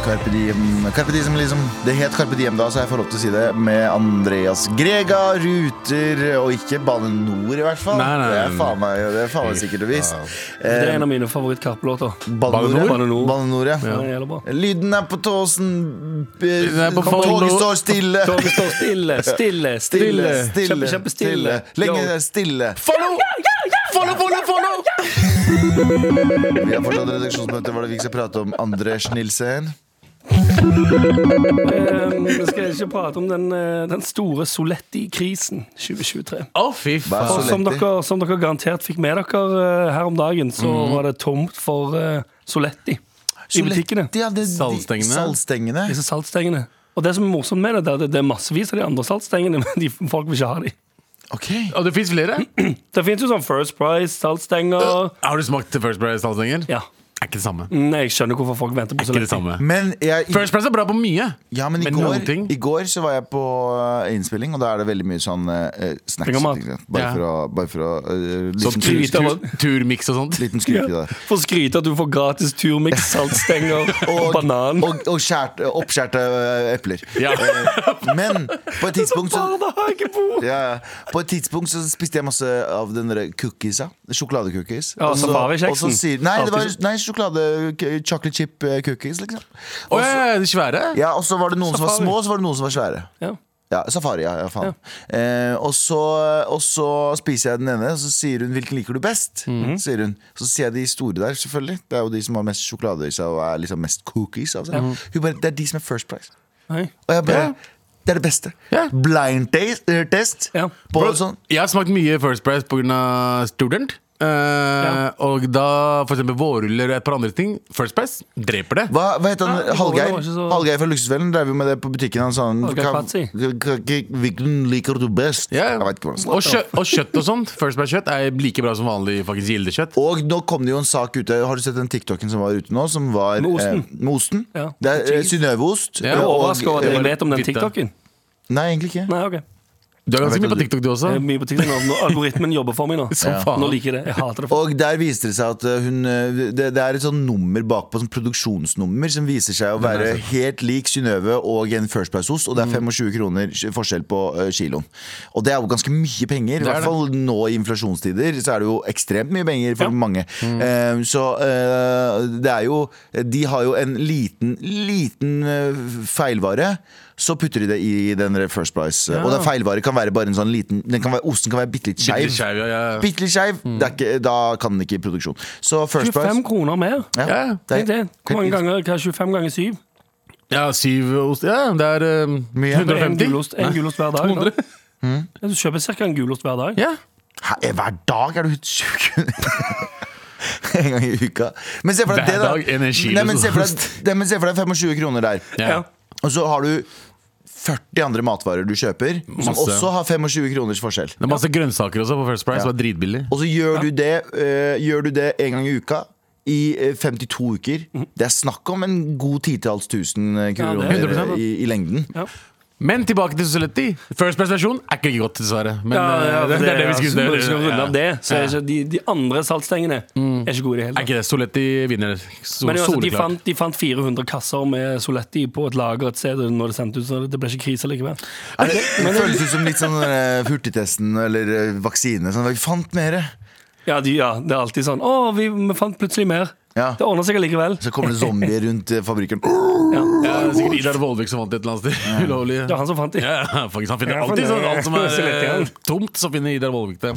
Speaker 2: Carpe Diem, Carpe Diem liksom Det het Carpe Diem da, så jeg får lov til å si det Med Andreas Grega, Ruter Og ikke Bane Nor i hvert fall
Speaker 5: Nei, nei, nei.
Speaker 2: Det er faen meg, det er faen meg sikkert og visst
Speaker 3: Det er
Speaker 2: eh,
Speaker 3: en av mine favoritt-Karpe-låter.
Speaker 2: Bane Nor, ja.
Speaker 3: Bane Nor.
Speaker 2: Bane Nor, ja
Speaker 3: Den gjelder bra.
Speaker 2: Lyden er på tåsen b-
Speaker 5: Lyden er på
Speaker 2: Toget
Speaker 5: Follo.
Speaker 2: står stille
Speaker 3: Toget står stille, stille, stille. Kjempe, kjempestille.
Speaker 2: Lenge
Speaker 3: Yo.
Speaker 2: stille
Speaker 5: Follow! Follow, follow, follow!
Speaker 2: Vi har fortsatt redaksjonsmøte Hva er det vi ikke skal prate om? Anders Nilsen
Speaker 3: Um, vi skal ikke prate om den, eh, den store Soletti-krisen 2023.
Speaker 5: Å, fy
Speaker 2: Hva er
Speaker 3: Og
Speaker 5: faen.
Speaker 2: så-
Speaker 3: som
Speaker 2: Soletti.
Speaker 3: dere, som dere garantert fikk med dere eh, her om dagen, så var det tomt for eh, Soletti i butikkene.
Speaker 2: Ja, det- de-
Speaker 5: Saltstengene.
Speaker 2: Saltstengene
Speaker 3: Disse saltstengene. Og det som er morsomt med det, det er at det er massevis av de andre saltstengene, men de, folk vil ikke ha de.
Speaker 2: Ok
Speaker 5: Og det fins flere?
Speaker 3: Det fins jo sånn First Price, saltstenger
Speaker 5: Har du smakt First Price saltstenger?
Speaker 3: Ja.
Speaker 5: Er ikke det samme.
Speaker 3: Mm, Jeg skjønner hvorfor folk venter på
Speaker 5: Ikke det
Speaker 3: Soletti.
Speaker 5: samme.
Speaker 2: Men jeg
Speaker 5: First Price er bra på mye.
Speaker 2: Ja, men i,
Speaker 5: Men noen ting-
Speaker 2: går, i går så var jeg på eh, innspilling, og da er det veldig mye sånn eh, snacks.
Speaker 3: Tenk om
Speaker 2: og
Speaker 3: mat.
Speaker 2: ting, Bare,
Speaker 5: Ja.
Speaker 2: for å, bare for å eh, liten,
Speaker 5: Sånn tur,
Speaker 3: skryt av
Speaker 5: tur,
Speaker 3: at-
Speaker 5: turmiks og sånt.
Speaker 2: liten skryte der.
Speaker 3: For å skryte at du får gratis turmix, saltstenger og banan.
Speaker 2: Og, og skjært, oppskjærte eh, epler.
Speaker 5: Ja.
Speaker 2: Eh, Men på et tidspunkt så
Speaker 3: Barnehagebord!
Speaker 2: ja, ja. På et tidspunkt så spiste jeg masse av den derre cookiesa. Sjokoladecookies.
Speaker 3: Ja,
Speaker 2: Og så-
Speaker 3: Safari-kjeksen.
Speaker 2: og så sier- Nei, det var
Speaker 3: Alltid
Speaker 2: nei, sjokolade chocolate chip eh, cookies, liksom.
Speaker 5: Å ja, ja, de svære?
Speaker 2: Ja, og så var det noen som var
Speaker 3: Safari.
Speaker 2: små, og så var det noen som var svære.
Speaker 3: Ja.
Speaker 2: Ja, Safari, ja, ja faen eh, og, så, og så spiser jeg den ene Og så sier hun, hvilken liker du best? Sier hun, så sier jeg de store der selvfølgelig Det er jo de som har mest sjokolade i seg Og er liksom mest cookies av seg Hun bare, det er de som er first price
Speaker 3: Nei.
Speaker 2: Og jeg bare,
Speaker 5: Ja.
Speaker 2: det er det beste
Speaker 5: Ja.
Speaker 2: Blind taste, eh, test
Speaker 3: Ja.
Speaker 2: På
Speaker 5: Bro,
Speaker 2: sånn
Speaker 5: Jeg har smakt mye First Price pga. student. Eh, Og da for eksempel vårruller og et par andre ting. First Price dreper det.
Speaker 2: hva, hva heter han?
Speaker 3: Nei, det var- det
Speaker 2: Hallgeir?
Speaker 3: var ikke så-
Speaker 2: Hallgeir fra Luksusfellen drev jo med det på butikken. Han sa han
Speaker 3: Hallgeir
Speaker 2: kan-
Speaker 3: Patsy.
Speaker 2: kan- kan- Hvilken liker du best?
Speaker 5: Ja, ja.
Speaker 2: Jeg vet ikke hvordan det
Speaker 5: og, kjø og kjøtt og sånt. First Price kjøtt er like bra som vanlig faktisk gildekjøtt.
Speaker 2: Og nå kom det jo en sak ute Har du sett den TikToken som var ute nå? Som var,
Speaker 3: Med osten.
Speaker 2: Eh, med osten.
Speaker 3: Ja.
Speaker 2: Det er eh, Synnøve-ost.
Speaker 5: Ja,
Speaker 3: Jeg er
Speaker 2: og-
Speaker 3: overrasket over at jeg vet om den
Speaker 5: Fitte.
Speaker 3: TikToken.
Speaker 2: eh, Nei, egentlig ikke.
Speaker 3: Nei, ok
Speaker 5: Du er ganske
Speaker 2: Jeg vet
Speaker 5: mye på
Speaker 2: aldri.
Speaker 5: TikTok, du også.
Speaker 3: Det er mye på TikTok nå. Nå- Algoritmen jobber for meg nå.
Speaker 5: Som faen.
Speaker 3: Nå liker jeg det. Jeg hater det. for-
Speaker 2: Og der viste det seg at eh, hun eh, Det, det er et sånn nummer bakpå, sånn produksjonsnummer, som viser seg å være helt lik Synnøve og en First Price-ost, og det er 25 kroner forskjell på eh, kiloen. Og det er jo ganske mye penger. I
Speaker 5: er
Speaker 2: hvert
Speaker 5: det.
Speaker 2: fall nå i inflasjonstider så er det jo ekstremt mye penger for
Speaker 3: Ja.
Speaker 2: mange. Eh, så eh, det er jo De har jo en liten, liten eh, feilvare. Så putter de det i den der First Price. Og det er feilvare kan være bare en sånn liten den kan være, Osten kan være bitte litt
Speaker 5: Bitte
Speaker 2: skeiv.
Speaker 5: litt skeiv, ja, ja.
Speaker 2: Bitte litt skeiv, det er ikke- da kan den ikke i produksjon. Så First Price
Speaker 3: 25 kroner mer.
Speaker 2: ja,
Speaker 5: Ja,
Speaker 3: Tenk det. Hvor mange
Speaker 2: helt-
Speaker 3: ganger? Hva er 25 ganger 7?
Speaker 5: Ja, syv ost Ja, det er eh,
Speaker 2: Mye.
Speaker 3: En
Speaker 5: 150.
Speaker 3: gulost, en gulost hver dag. da.
Speaker 5: 200.
Speaker 3: Ja, Du kjøper ca. en gulost hver dag.
Speaker 5: Mm. Ja.
Speaker 2: Hæ, eh, Hver dag er du sjuk! en gang i uka. Men se for deg
Speaker 5: Hver
Speaker 2: det, da.
Speaker 5: dag en kilo
Speaker 2: Nei, men se for deg,
Speaker 5: ost.
Speaker 2: nei, men se for deg 25 kroner der.
Speaker 5: Ja.
Speaker 2: Og så har du 40 andre matvarer du kjøper, som
Speaker 5: Masse.
Speaker 2: også har 25 kroners forskjell.
Speaker 5: Det er masse grønnsaker også på First Price, som er dritbillig.
Speaker 2: Og så gjør, du det, eh, gjør du det en gang i uka. I eh, 52 uker. Det er snakk om en god titalls tusen eh,
Speaker 3: Ja,
Speaker 2: kroner
Speaker 3: det
Speaker 5: er 100%, da.
Speaker 2: i, i lengden.
Speaker 5: Men tilbake til Soletti. First Price-versjon er ikke like godt, dessverre. Men eh, det, det er det vi
Speaker 3: altså,
Speaker 5: skulle
Speaker 3: når vi skal runde av det, så er
Speaker 5: Ja.
Speaker 3: ikke de, de andre saltstengene
Speaker 5: Mm.
Speaker 3: er ikke gode i det hele
Speaker 5: Er
Speaker 3: tatt.
Speaker 5: ikke det. Soletti vinner. So
Speaker 3: Men altså, de,
Speaker 5: soleklart.
Speaker 3: fant, de fant 400 kasser med Soletti på et lager et sted når det sendte ut, så det ble ikke krise likevel.
Speaker 2: Er det, det føles ut som litt sånn eh, hurtigtesten eller eh, vaksine. Sånn, vi fant mere.
Speaker 3: Ja, de, ja, det er alltid sånn Å, vi, vi fant plutselig mer.
Speaker 2: Ja.
Speaker 3: Det ordner seg allikevel.
Speaker 2: Så kommer det zombier rundt eh, fabrikken.
Speaker 5: Ja, det er sikkert Idar Vollvik som vant et eller annet sted. Ulovlig.
Speaker 3: Det var han som fant dem.
Speaker 5: Ja, ja, faktisk, han finner
Speaker 3: Ja, for
Speaker 5: alltid
Speaker 3: det-
Speaker 5: sånn, alt som er
Speaker 3: så lett igjen.
Speaker 5: eh, tomt, så finner Idar Vollvik det.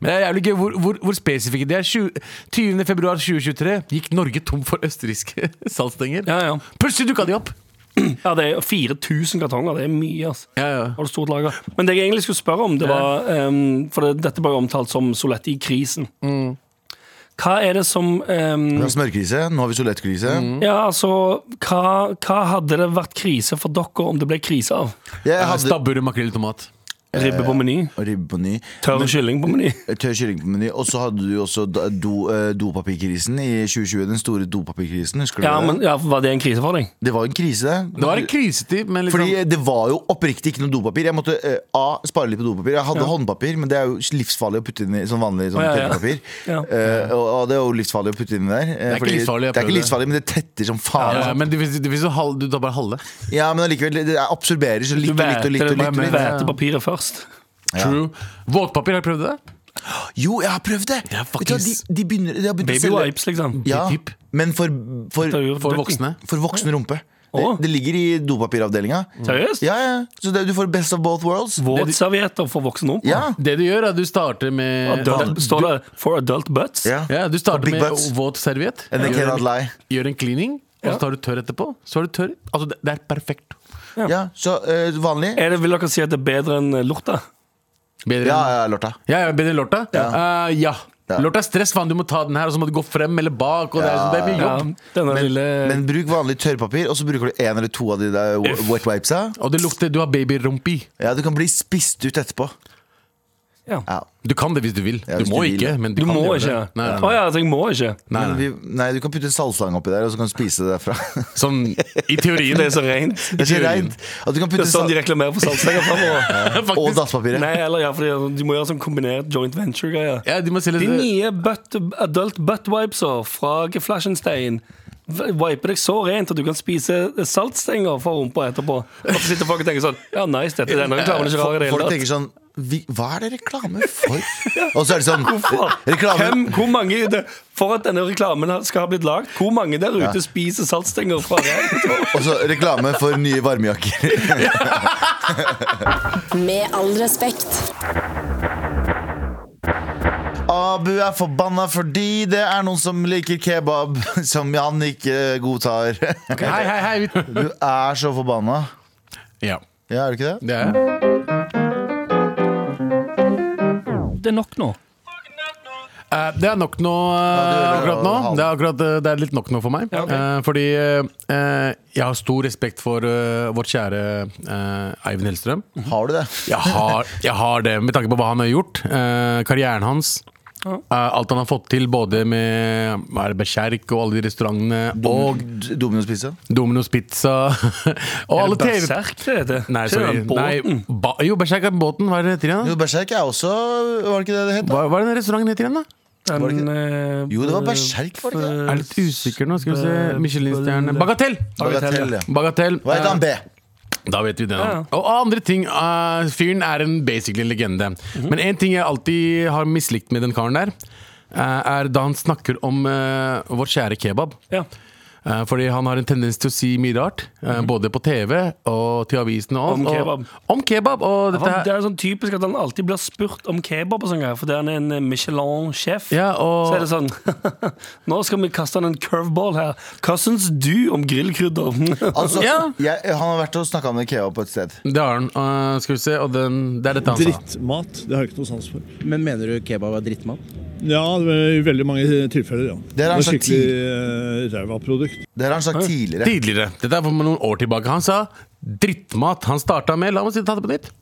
Speaker 5: Men det er jævlig gøy hvor, hvor, hvor spesifikke de er. 20 20. februar 2023 gikk Norge tom for østerrikske saltstenger.
Speaker 3: Ja, ja.
Speaker 5: Plutselig dukka de opp!
Speaker 3: ja, det er 4000 kartonger. Det er mye, altså.
Speaker 5: Ja, ja.
Speaker 3: Har du stort lager. Men det jeg egentlig skulle spørre om, det var ehm, For det, dette ble jo omtalt som Soletti-krisen.
Speaker 2: Mm.
Speaker 3: Hva er det som ehm,
Speaker 2: Vi har smørkrise, nå har vi solettkrise.
Speaker 3: Ja, altså hva, hva hadde det vært krise for dere om det ble krise av?
Speaker 2: Jeg hadde
Speaker 5: Stabbur, makrell i tomat.
Speaker 3: Ribbe på meny?
Speaker 2: ribbe på ny. eh,
Speaker 3: Tørr kylling på meny?
Speaker 2: Tørr kylling på meny. Og så hadde du jo også da- do, eh, dopapirkrisen i 2020. Den store dopapirkrisen, husker du
Speaker 3: Ja,
Speaker 2: det?
Speaker 3: men ja, Var det en krise for deg?
Speaker 2: Det var en krise.
Speaker 5: Det var en krisetid, men liksom
Speaker 2: Fordi det var jo oppriktig ikke noe dopapir. Jeg måtte eh, A, spare litt på dopapir. Jeg hadde håndpapir, men det er jo livsfarlig å putte inn i sånn vanlig sånn
Speaker 3: Å, ja, ja.
Speaker 2: tørrpapir.
Speaker 3: Ja.
Speaker 2: Eh, og, og det er jo livsfarlig å putte inn der. eh,
Speaker 5: er ikke
Speaker 2: fordi-
Speaker 5: livsfarlig, jeg
Speaker 2: det er ikke
Speaker 5: prøvde.
Speaker 2: livsfarlig, men det tetter som faen.
Speaker 5: ja,
Speaker 2: Ja,
Speaker 5: Eh, men det finnes, det finnes jo halv, du tar bare halve.
Speaker 2: men allikevel, det er- absorberer så litt
Speaker 3: Du
Speaker 2: og litt og litt. og litt, og litt.
Speaker 3: væter papiret først.
Speaker 5: True. Våtpapir, har du prøvd det?
Speaker 2: Jo, jeg har prøvd det!
Speaker 5: Ja,
Speaker 2: Vet du hva,
Speaker 5: fuckings-
Speaker 2: de, de begynner de har begynt å
Speaker 3: Baby
Speaker 2: selge-
Speaker 3: wipes, liksom.
Speaker 2: Ja,
Speaker 5: Tipp.
Speaker 2: men for,
Speaker 3: Det er
Speaker 2: for,
Speaker 3: jo
Speaker 5: For
Speaker 3: dødt.
Speaker 5: voksne.
Speaker 2: for voksen rumpe. Det,
Speaker 3: Å.
Speaker 2: det ligger i dopapiravdelinga.
Speaker 3: Seriøst?
Speaker 2: Ja, ja. Så det, du får best of both worlds.
Speaker 3: Våtservietter for voksne rumper?
Speaker 2: Ja.
Speaker 5: Det du gjør, er at du starter med
Speaker 3: Adult, står det 'for adult butts'?
Speaker 2: ja.
Speaker 5: ja, Du starter
Speaker 2: Big
Speaker 5: med
Speaker 2: butts.
Speaker 5: våt serviett.
Speaker 2: And they cannot lie.
Speaker 5: Gjør en cleaning, og
Speaker 3: Ja.
Speaker 5: så tar du tørr etterpå. Så er du tørr. Altså, det, det er perfekt.
Speaker 2: Ja, så eh, vanlig.
Speaker 3: Er det, vil dere si at det er bedre enn eh, lorta?
Speaker 5: Bedre
Speaker 2: Ja,
Speaker 5: enn
Speaker 2: ja, Lorta.
Speaker 5: Ja, ja, bedre enn lorta? Ja. ja.
Speaker 2: Ja.
Speaker 5: Lorta er stress, faen. Du må ta den her, og så må du gå frem eller bak. Og det, er, sånn- det er mye
Speaker 3: Ja,
Speaker 5: jobb.
Speaker 3: denne lille
Speaker 2: Men bruk vanlig tørrpapir, og så bruker du en eller to av de der wa-
Speaker 3: Uff.
Speaker 2: wet wipesa.
Speaker 5: Og det lukter Du har babyrumpi.
Speaker 2: Ja, du kan bli spist ut etterpå.
Speaker 3: Ja.
Speaker 2: Ja.
Speaker 5: Du kan det hvis du vil.
Speaker 2: Ja,
Speaker 5: du
Speaker 2: hvis
Speaker 5: må
Speaker 2: du vil,
Speaker 5: ikke,
Speaker 2: ja.
Speaker 5: men du,
Speaker 3: Du
Speaker 5: kan
Speaker 3: må
Speaker 5: gjøre
Speaker 3: ikke?
Speaker 5: det. Nei,
Speaker 3: Å
Speaker 5: nei,
Speaker 3: ja, altså, jeg må ikke?
Speaker 5: nei,
Speaker 2: Men
Speaker 5: nei.
Speaker 2: vi, nei, du kan putte en salgslang oppi der, og så kan du spise det derfra.
Speaker 5: Sånn i teorien.
Speaker 3: Det er så rent.
Speaker 2: Det er så
Speaker 5: Teorien.
Speaker 2: reint. At du kan
Speaker 3: Det
Speaker 2: putte
Speaker 3: er sånn de
Speaker 2: sal
Speaker 3: reklamerer for saltstenger fremover.
Speaker 2: og dasspapiret.
Speaker 3: Nei, eller ja, for de må gjøre sånn kombinert joint venture-greier.
Speaker 5: Ja, de må selge
Speaker 3: De
Speaker 5: det.
Speaker 3: nye butt, adult butt wipeser fra Geflaschenstein v- wiper deg så rent at du kan spise saltstenger fra rumpa etterpå. Og så sitter folk og tenker sånn Ja, nice, dette er denne reklamen er ikke rar i det
Speaker 2: Folk
Speaker 3: hele tatt.
Speaker 2: tenker sånn vi, Hva er det reklame for? Og så er det sånn
Speaker 3: Hvorfor?
Speaker 2: Reklame
Speaker 3: Hvem, hvor mange i det, For at denne reklamen skal ha blitt lagd, hvor mange der ute spiser saltstenger fra radio?
Speaker 2: Og så reklame for nye varmejakker.
Speaker 1: Med all respekt.
Speaker 2: Abu er forbanna fordi det er noen som liker kebab, som Jan ikke godtar.
Speaker 5: Hei, hei, hei. vi-
Speaker 2: Du er så forbanna.
Speaker 5: Ja,
Speaker 2: Ja, er du ikke det?
Speaker 5: det er
Speaker 3: Det er nok nå.
Speaker 5: Eh, det er nok nå eh,
Speaker 2: Ja, det er-
Speaker 5: akkurat nå. Det er, akkurat, eh, det er litt nok nå for meg.
Speaker 3: Ja, ok.
Speaker 5: Eh, fordi eh, eh, jeg har stor respekt for eh, vårt kjære eh, Eivind Hellstrøm.
Speaker 2: Har du det?
Speaker 5: Jeg har, jeg har det, med tanke på hva han har gjort. eh, karrieren hans. eh, alt han har fått til, både med hva er det, Berserk og alle de restaurantene. Og
Speaker 2: D- Domino's pizza?
Speaker 5: Domino's Pizza. og alle TV
Speaker 3: Berserk, det heter.
Speaker 5: Nei,
Speaker 3: Ikke
Speaker 5: sorry.
Speaker 3: den
Speaker 5: Nei,
Speaker 3: båten.
Speaker 5: ba, jo, Berserk er båten. Hva er det heter igjen?
Speaker 2: Jo,
Speaker 5: da?
Speaker 2: Berserk er også Var det ikke det det het? da?
Speaker 5: Hva, hva er den restauranten heter igjen, da?
Speaker 3: Den,
Speaker 2: var det ikke
Speaker 3: eh, eh,
Speaker 2: Jo, det var Berserk, var det ikke det?
Speaker 5: Jeg er litt usikker nå. Skal vi se. Michelin-stjerne Bagatell!
Speaker 2: Bagatell, ja.
Speaker 5: Bagatell.
Speaker 2: Hva het han B?
Speaker 5: Da vet vi det.
Speaker 3: Ja, ja.
Speaker 5: da. Og andre ting. eh, fyren er en basically en legende.
Speaker 3: Mhm.
Speaker 5: Men én ting jeg alltid har mislikt med den karen der, eh, er da han snakker om eh, vårt kjære kebab.
Speaker 3: Ja.
Speaker 5: Eh, fordi han har en tendens til å si mye rart. eh, Både på TV og til avisene. Og,
Speaker 3: Mhm. Om
Speaker 5: og-
Speaker 3: kebab.
Speaker 5: om kebab og dette
Speaker 3: Han, det
Speaker 5: her.
Speaker 3: er sånn typisk at han alltid blir spurt om kebab og sånn greier, fordi han er en eh, Michelin-sjef.
Speaker 5: Ja, og-
Speaker 3: Så er det sånn Nå skal vi kaste han en curveball her. Hva syns du om grillkrydder?
Speaker 2: Altså,
Speaker 5: Ja.
Speaker 2: jeg, han har vært og snakka om det kebab på et sted.
Speaker 5: Det har han. Eh, skal vi se. Og den, det er dette han
Speaker 2: Altså-
Speaker 5: sa.
Speaker 4: Drittmat, det har jeg ikke noe sans for.
Speaker 6: Men mener du kebab er drittmat?
Speaker 4: Ja, i veldig mange tilfeller, ja.
Speaker 2: Det er altså en
Speaker 4: Det er
Speaker 2: slags
Speaker 4: skikkelig eh, ræva produkt.
Speaker 2: Det har han sagt tidligere.
Speaker 5: Tidligere. Dette er for noen år tilbake. Han sa drittmat. Han starta med La meg si ta det på nytt.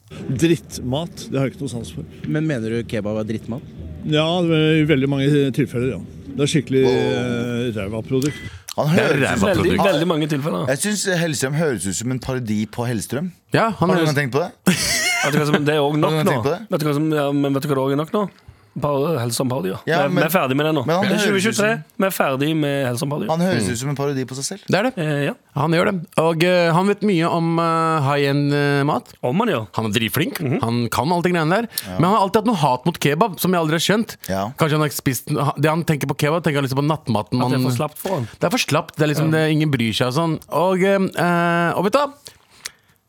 Speaker 4: Drittmat, det har jeg ikke noe sans for.
Speaker 6: Men mener du kebab er drittmat?
Speaker 4: Ja, i veldig mange tilfeller, ja. Det er skikkelig eh, ræva produkt.
Speaker 2: Han
Speaker 5: Det er
Speaker 2: høres ut
Speaker 5: ræva
Speaker 3: veldig,
Speaker 5: produkt.
Speaker 3: veldig mange tilfeller.
Speaker 2: jeg syns Hellstrøm høres ut som en parodi på Hellstrøm.
Speaker 5: Ja, han
Speaker 2: Har du
Speaker 5: høres
Speaker 2: noen tenkt på det?
Speaker 3: Vet du hva som, det er òg nok
Speaker 2: Har du
Speaker 3: nå.
Speaker 2: tenkt på det?
Speaker 3: Vet du hva som, ja, men vet du hva det også er nok nå? par- Hell som Parody.
Speaker 2: Ja,
Speaker 3: Ja, vi,
Speaker 2: men-
Speaker 3: vi er ferdig med det nå.
Speaker 2: men han
Speaker 3: Det er
Speaker 2: høres ut
Speaker 3: 2023.
Speaker 2: som-
Speaker 3: Vi er ferdig med Hell som Parody.
Speaker 5: Mm.
Speaker 2: Han høres ut som en parodi på seg selv.
Speaker 5: Det er det.
Speaker 3: Eh, ja.
Speaker 5: Han gjør det. Og eh, han vet mye om eh, high-end-mat.
Speaker 3: Om han gjør.
Speaker 5: Han er dritflink. Han kan alt det greiene der. Men han har alltid hatt noe hat mot kebab, som jeg aldri har skjønt.
Speaker 2: Ja.
Speaker 5: Kanskje han har spist Det han tenker på kebab, tenker han liksom på nattmaten
Speaker 3: At det er
Speaker 5: man
Speaker 3: for slapt for han.
Speaker 5: Det er for slapt. Det er liksom det, Ingen bryr seg og sånn. Og, eh, og vet du hva?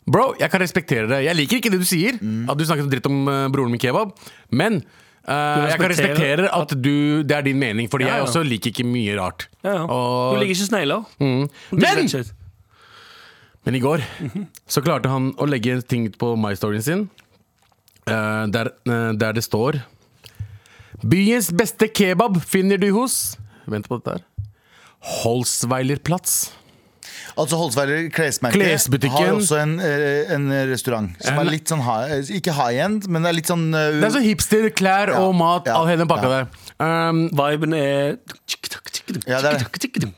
Speaker 5: Bro, jeg kan respektere det. Jeg liker ikke det du sier,
Speaker 3: Mm.
Speaker 5: at du snakket dritt om eh, broren min kebab, men eh, jeg kan
Speaker 3: respekterer
Speaker 5: respektere at du, det er din mening, fordi
Speaker 3: Ja, ja.
Speaker 5: jeg også liker ikke mye rart.
Speaker 3: Ja, ja.
Speaker 5: Og- Mm.
Speaker 3: Hun liker ikke snegler.
Speaker 5: Men!
Speaker 3: Shit.
Speaker 5: Men i går
Speaker 3: Mhm.
Speaker 5: så klarte han å legge ting ut på My Storyen sin, eh, der, eh, der det står Byens beste kebab finner du hos Vent på dette her. Holsweilerplatz.
Speaker 2: Altså Holsveiler klesmerke
Speaker 5: Klesbutikken.
Speaker 2: har også en, eh, en restaurant som
Speaker 5: En-
Speaker 2: er litt sånn high, ikke high end, men det er litt sånn eh,
Speaker 5: Det er så hipster, klær
Speaker 2: Ja,
Speaker 5: og mat,
Speaker 2: ja,
Speaker 5: all hele den pakka
Speaker 2: ja.
Speaker 5: der. Um,
Speaker 3: Viben er
Speaker 2: Ja, det er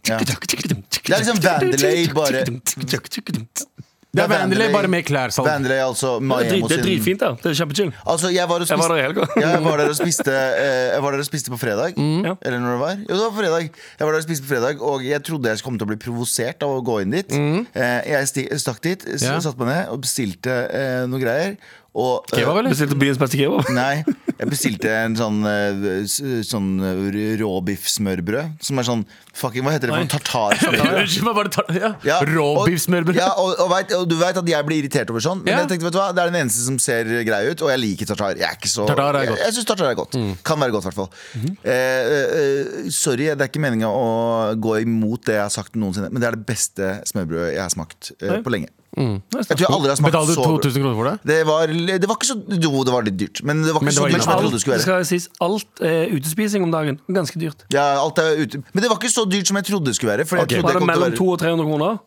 Speaker 2: Ja. Det er liksom Vandelay, bare-
Speaker 5: det er Vandelay,
Speaker 2: Vandelay-
Speaker 5: bare med sånn. klærsalg.
Speaker 2: Vandelay, altså
Speaker 3: Det er, drit,
Speaker 2: Miami
Speaker 3: det
Speaker 2: sin-
Speaker 3: er dritfint der. Det er kjempechill.
Speaker 2: Altså, jeg var og
Speaker 3: Jeg var der i
Speaker 2: spiste
Speaker 3: helga.
Speaker 2: ja, jeg var der og spiste eh, Jeg var der og spiste på fredag.
Speaker 5: Mm.
Speaker 3: Ja.
Speaker 2: Eller når det var. Jo, det var på fredag. Jeg var der og spiste på fredag, og jeg trodde jeg kom til å bli provosert av å gå inn dit. Eh, jeg sti stakk dit, s-
Speaker 5: Ja.
Speaker 2: satte meg ned og bestilte eh, noen greier. Og, eh,
Speaker 5: Kebab, eller?
Speaker 3: Bestilte byens beste kebab.
Speaker 2: Nei, jeg bestilte en sånn, eh, s- sånn eh, råbiffsmørbrød. Som er sånn fucking Hva heter det? for noe? Tartar? tartar.
Speaker 5: Unnskyld meg, bare ta ja.
Speaker 2: Ja, og-
Speaker 5: Råbiffsmørbrød.
Speaker 2: Ja, og, og, vet- og du vet at jeg blir irritert over sånn. Men
Speaker 5: Ja.
Speaker 2: jeg tenkte, vet du hva, det er den eneste som ser grei ut, og jeg liker tartar. Jeg, er ikke så,
Speaker 5: Tartar er godt. Mm. Mhm.
Speaker 2: jeg, jeg syns tartar er godt. Kan være godt, i hvert fall. eh, eh, eh, sorry, det er ikke meninga å gå imot det jeg har sagt noensinne, men det er det beste smørbrødet jeg har smakt eh,
Speaker 3: Oi.
Speaker 2: på lenge.
Speaker 3: Det er
Speaker 2: Jeg tror jeg aldri har smakt
Speaker 5: Betalte Mm. du
Speaker 2: så bra.
Speaker 5: 2000 kroner for det?
Speaker 2: Det var, det var ikke så Jo, det var litt dyrt, men det var ikke
Speaker 5: Men det
Speaker 2: så dyrt som
Speaker 5: var
Speaker 2: jeg
Speaker 5: innenfor.
Speaker 2: trodde det skulle
Speaker 3: Alt,
Speaker 2: være.
Speaker 3: skal sies, alt er utespising om dagen. Ganske dyrt.
Speaker 2: Ja, alt er ute. Men det var ikke så dyrt som jeg trodde det skulle være. For, jeg trodde
Speaker 3: Var det
Speaker 2: det kom til å
Speaker 3: mellom 200 og 300 kroner?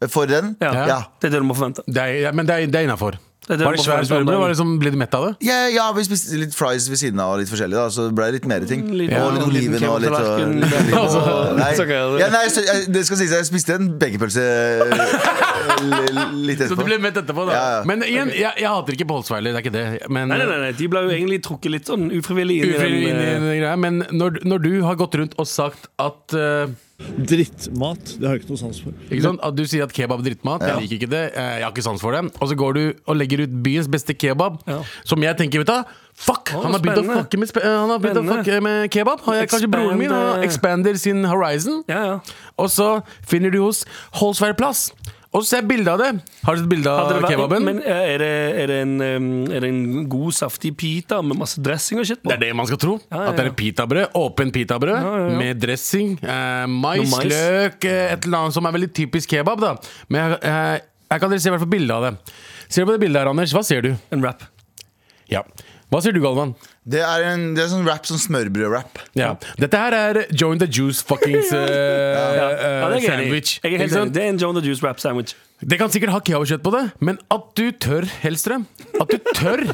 Speaker 2: være for den.
Speaker 3: Ja.
Speaker 2: Ja.
Speaker 3: Det er det du må forvente.
Speaker 5: Det er, ja, men det er, det er innafor.
Speaker 3: er det
Speaker 5: Var
Speaker 3: du må
Speaker 5: det svært
Speaker 3: forvente om
Speaker 5: smørbrød?
Speaker 3: dagen.
Speaker 5: Var det som, ble du mett av det?
Speaker 2: Ja, ja, vi spiste litt fries ved siden av, og litt forskjellig. da Så det ble litt mer
Speaker 5: Mm,
Speaker 2: ting.
Speaker 3: Liten-
Speaker 2: og litt
Speaker 3: ja,
Speaker 5: sånn
Speaker 3: liten
Speaker 2: oliven og litt og,
Speaker 3: kebabtallerken.
Speaker 2: litt oliven og-
Speaker 3: Altså,
Speaker 2: Nei,
Speaker 3: så gøy, det.
Speaker 2: ja, nei så, jeg, det skal sies, jeg spiste en beggerpølse eh, litt
Speaker 5: Så du
Speaker 2: etterpå.
Speaker 5: ble mett etterpå, da.
Speaker 2: Ja, ja.
Speaker 5: Men igjen, jeg, jeg hater ikke Polsweiler, det er ikke det. Men,
Speaker 3: Nei, nei, nei, nei, De ble jo egentlig trukket litt sånn ufrivillig inn i den.
Speaker 5: Ufrivillig inn i
Speaker 3: eh,
Speaker 5: den greia, men når, når du har gått rundt og sagt at eh,
Speaker 4: Drittmat, det har jeg ikke noe sans for.
Speaker 5: Ikke sant? At du sier at kebab er drittmat. Jeg liker ikke det. eh, Jeg har ikke sans for det. Og så går du og legger ut byens beste kebab,
Speaker 3: Ja.
Speaker 5: som jeg tenker vet du, hva? Fuck!
Speaker 3: Å,
Speaker 5: han har begynt å
Speaker 3: spennende.
Speaker 5: fucke med, spe- eh, han har begynt å
Speaker 3: Spennende.
Speaker 5: fucke med kebab. Han er kanskje broren min og
Speaker 3: Expande-
Speaker 5: expander sin horizon.
Speaker 3: Ja, ja.
Speaker 5: Og så finner du hos Holsvær plass. Og så ser jeg bilde av det. Har du sett bilde
Speaker 3: Hadde
Speaker 5: av
Speaker 3: det vært,
Speaker 5: kebaben?
Speaker 3: Men eh, er det, er, det en, eh, er det en god, saftig pita med masse dressing og shit på?
Speaker 5: Det er det man skal tro.
Speaker 3: ja, ja.
Speaker 5: At det er et pitabrød. Åpen pitabrød med dressing, eh, mais,
Speaker 3: Noe mais.
Speaker 5: løk, eh, et eller annet som er veldig typisk kebab. da Men jeg, eh, jeg kan dere se i hvert fall bildet av det. Ser du på det bildet her, Anders? Hva ser du?
Speaker 3: En wrap.
Speaker 5: Eh, Ja. Hva sier du, Galvan?
Speaker 2: Det er en det er sånn rap, sånn smørbrød-rap.
Speaker 5: Ja. Dette her er Join the Juice fuckings eh,
Speaker 3: Ja,
Speaker 5: eh,
Speaker 3: ja, det er jeg enig i.
Speaker 5: sandwich.
Speaker 3: Jeg er
Speaker 5: Ikke
Speaker 3: helt enig.
Speaker 5: sant?
Speaker 3: Det er en Joan the Juice wrap sandwich.
Speaker 5: Det kan sikkert ha kebabkjøtt på det, men at du tør, Hellstrøm At du tør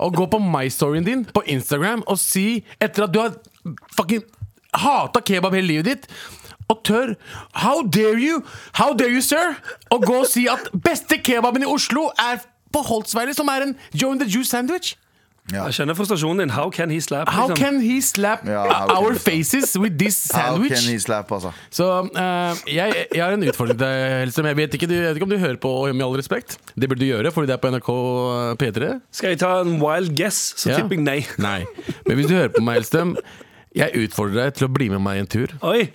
Speaker 5: å gå på my-storyen din på Instagram og si, etter at du har fucking hata kebab hele livet ditt og tør How dare you? How dare you, sir? Å gå og si at beste kebaben i Oslo er på Holtzweiler, som er en Joan the Juice sandwich?
Speaker 3: Jeg skjønner frustrasjonen din. How can he slap?
Speaker 5: How
Speaker 3: liksom?
Speaker 5: can he slap
Speaker 2: Ja, how can
Speaker 5: our
Speaker 2: he slap?
Speaker 5: faces with this
Speaker 2: How
Speaker 5: sandwich?
Speaker 2: can he slap, altså?
Speaker 5: Så eh, jeg, jeg har en utfordring til deg, Hellstrøm. Jeg vet, ikke, du, jeg vet ikke om du hører på, med all respekt. Det burde du gjøre, fordi det er på NRK eh, P3.
Speaker 3: Skal jeg ta en wild guess, så
Speaker 5: Ja.
Speaker 3: tipper jeg nei.
Speaker 5: Nei. Men hvis du hører på meg, Hellstrøm, jeg utfordrer deg til å bli med meg en tur.
Speaker 3: Oi,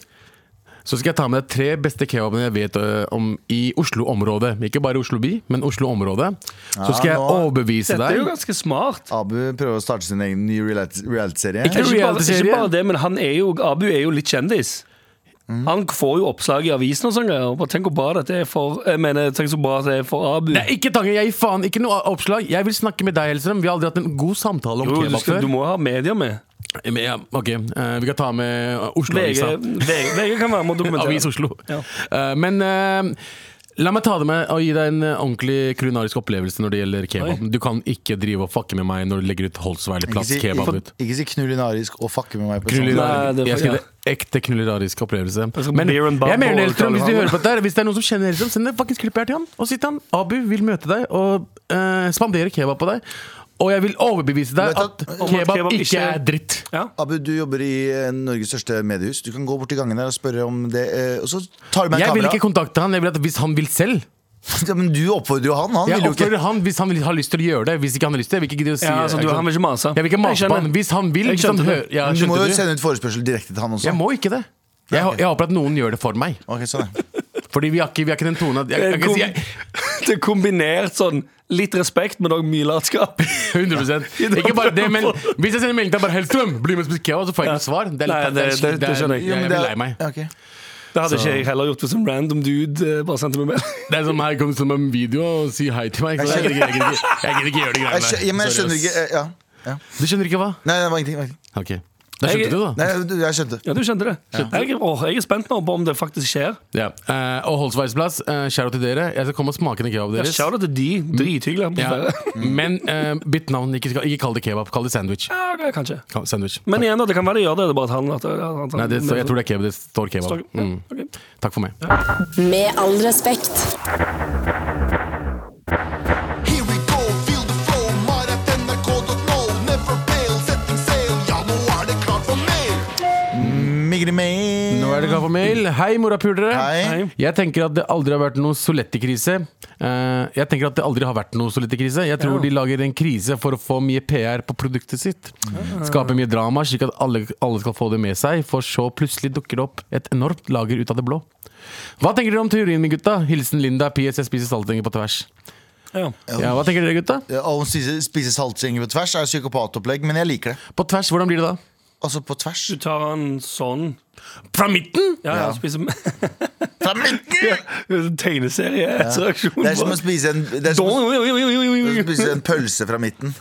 Speaker 5: Så skal jeg ta med deg tre beste kebabene jeg vet eh, om i Oslo-området. Ikke bare Oslo by, men Oslo-området. Så skal jeg
Speaker 2: nå-
Speaker 5: overbevise
Speaker 3: dette er jo
Speaker 5: deg.
Speaker 3: ganske smart.
Speaker 2: Abu prøver å starte sin egen ny reality- reality-serie.
Speaker 5: Ikke-
Speaker 3: Ikke bare,
Speaker 5: reality-serie.
Speaker 3: ikke bare det, men han er jo, Abu er jo litt kjendis.
Speaker 5: Mm.
Speaker 3: Han får jo oppslag i avisen og sånne greier. Bare Tenk hvor bra dette er for Jeg mener, tenk så bra det er for Abu.
Speaker 5: Nei, ikke tanken, jeg gir faen. Ikke noe oppslag. Jeg vil snakke med deg, Hellstrøm. Vi har aldri hatt en god samtale om
Speaker 3: jo, du,
Speaker 5: kebab
Speaker 3: skal,
Speaker 5: før.
Speaker 3: du må ha media med.
Speaker 5: Men ja, ok, eh, vi kan ta med eh,
Speaker 3: VG,
Speaker 5: Oslo-avisa.
Speaker 3: VG, VG kan være med og dokumentere.
Speaker 5: Avis Oslo.
Speaker 3: Ja.
Speaker 5: Eh, men eh, la meg ta det med og gi deg en eh, ordentlig kulinarisk opplevelse når det gjelder kebab. Du kan ikke drive og fucke med meg når du legger ut
Speaker 2: Ikke
Speaker 5: Holsweiler-plass
Speaker 2: si,
Speaker 5: kebab ut.
Speaker 2: ikke si knullinarisk og fucke med meg. på
Speaker 5: Knullinarisk.
Speaker 2: sånn.
Speaker 3: Nei, det får
Speaker 5: jeg skal
Speaker 3: jeg.
Speaker 5: gi deg ekte kulinarisk opplevelse.
Speaker 3: skal
Speaker 5: Men
Speaker 3: beer
Speaker 5: jeg
Speaker 3: and bubble
Speaker 5: mener
Speaker 3: og
Speaker 5: Hellstrøm, hvis du
Speaker 3: alt.
Speaker 5: hører på dette her Hvis det er noen som kjenner Hellstrøm, send et fuckings klipp her til han. Og si til han Abu vil møte deg og eh, spandere kebab på deg. Og jeg vil overbevise deg
Speaker 2: Vet
Speaker 5: at
Speaker 2: du at-
Speaker 3: Om at
Speaker 5: kebab
Speaker 3: kebab ikke-
Speaker 5: ikke er dritt.
Speaker 3: Ja.
Speaker 2: Abu, du jobber i eh, Norges største mediehus. Du kan gå bort til gangen der og spørre om det. eh, Og så tar du med
Speaker 5: Jeg
Speaker 2: en
Speaker 5: vil
Speaker 2: kamera.
Speaker 5: ikke kontakte han. Jeg vil at Hvis han vil selv
Speaker 2: ja, men du oppfordrer jo han. Han
Speaker 5: Jeg
Speaker 2: vil jo ikke
Speaker 5: oppfordrer han hvis han vil, har lyst til å gjøre det. Hvis ikke han har lyst til det. Jeg vil ikke gidde å si
Speaker 3: ja altså, du, han vil ikke mase.
Speaker 5: Jeg vil ikke mase
Speaker 3: Jeg
Speaker 5: på
Speaker 3: skjønner.
Speaker 5: han. Hvis han vil.
Speaker 3: Jeg
Speaker 5: Hvis han
Speaker 3: skjønte
Speaker 5: hører
Speaker 3: det.
Speaker 5: ja,
Speaker 2: Men Du må
Speaker 5: skjønte
Speaker 2: jo
Speaker 5: du?
Speaker 2: sende ut forespørsel direkte til han også.
Speaker 5: Jeg må ikke det. Jeg, hå- jeg håper at noen gjør det for meg.
Speaker 2: Ok, sånn ja.
Speaker 5: Fordi vi har ikke, vi har ikke den tonen at jeg, jeg, kan si- jeg,
Speaker 3: Det er kombinert sånn litt respekt, men òg mye latskap.
Speaker 5: 100 Ikke bare det, men Hvis jeg sender melding til bare Hellstrøm, bli med og spise kebab, så får jeg ikke noe svar. Det er
Speaker 3: Nei,
Speaker 5: litt, det,
Speaker 3: det- det- det skjønner jeg.
Speaker 5: jeg. Jeg blir lei meg.
Speaker 2: Ja, ok.
Speaker 3: Det hadde ikke jeg heller gjort hvis en random dude eh, bare sendte meg mail.
Speaker 5: Det er som her kommer det som en video og sier hei til meg. ikke sant? Jeg gidder ikke- jeg gidder ikke- jeg gidder ikke gjøre de
Speaker 2: Jeg,
Speaker 5: greiene
Speaker 2: skjø- ja, men jeg
Speaker 5: Sorry,
Speaker 2: skjønner
Speaker 5: ass.
Speaker 2: ikke eh, ja. ja.
Speaker 5: Du skjønner ikke hva?
Speaker 2: Nei, det var ingenting. det var ingenting.
Speaker 5: Ok. Da skjønte
Speaker 3: Jeg-
Speaker 5: du, da.
Speaker 2: Nei, du, jeg skjønte.
Speaker 3: Ja, du skjønte det. Jeg, er- åh, jeg er spent nå på om det faktisk skjer.
Speaker 5: Ja. Eh, og Holsveis plass, eh, shout-out til dere. Jeg skal komme og smake den kebaben
Speaker 3: Jeg
Speaker 5: deres.
Speaker 3: shout out til de. Drithyggelig atmosfære.
Speaker 5: Ja. Men eh, bytt navn. Ikke, ikke kall det kebab, kall det sandwich.
Speaker 3: Ja, det- kanskje.
Speaker 5: Kall det sandwich.
Speaker 3: Men igjen, da, det kan være de gjør det. Det er bare at han at, at, at,
Speaker 5: Nei, det, jeg tror det er kebab. Det står kebab. Mm. Takk for meg.
Speaker 1: Med all respekt.
Speaker 7: Here we go, feel the flow, mar at nrk.no. Never fail, setting sail, ja nå er det klart for mer.
Speaker 2: Migri mail.
Speaker 5: Nå er det klar for mail. Hei, morapulere.
Speaker 2: Hei.
Speaker 5: Jeg tenker at det aldri har vært noe Soletti-krise. Eh, jeg tenker at det aldri har vært noe Soletti-krise. Jeg tror de lager en krise for å få mye PR på produktet sitt. Skape mye drama, slik at alle, alle skal få det med seg, for så plutselig dukker det opp et enormt lager ut av det blå. Hva tenker dere om teorien min, gutta? Hilsen Linda. PS, jeg spiser saltinger på tvers.
Speaker 3: Ja.
Speaker 5: Ja, hva tenker dere, gutta?
Speaker 2: Ja, og Å spise, spise saltstenger på tvers er jo psykopatopplegg, men jeg liker det.
Speaker 5: På tvers, hvordan blir det da?
Speaker 2: Altså på tvers.
Speaker 3: Du tar han sånn.
Speaker 5: Fra midten?
Speaker 3: Ja,
Speaker 2: Ja.
Speaker 3: ja. spiser
Speaker 2: Fra midten!
Speaker 3: Tegneseriereaksjon.
Speaker 2: Det er som å spise en, det er som å det er som å spise en pølse fra midten.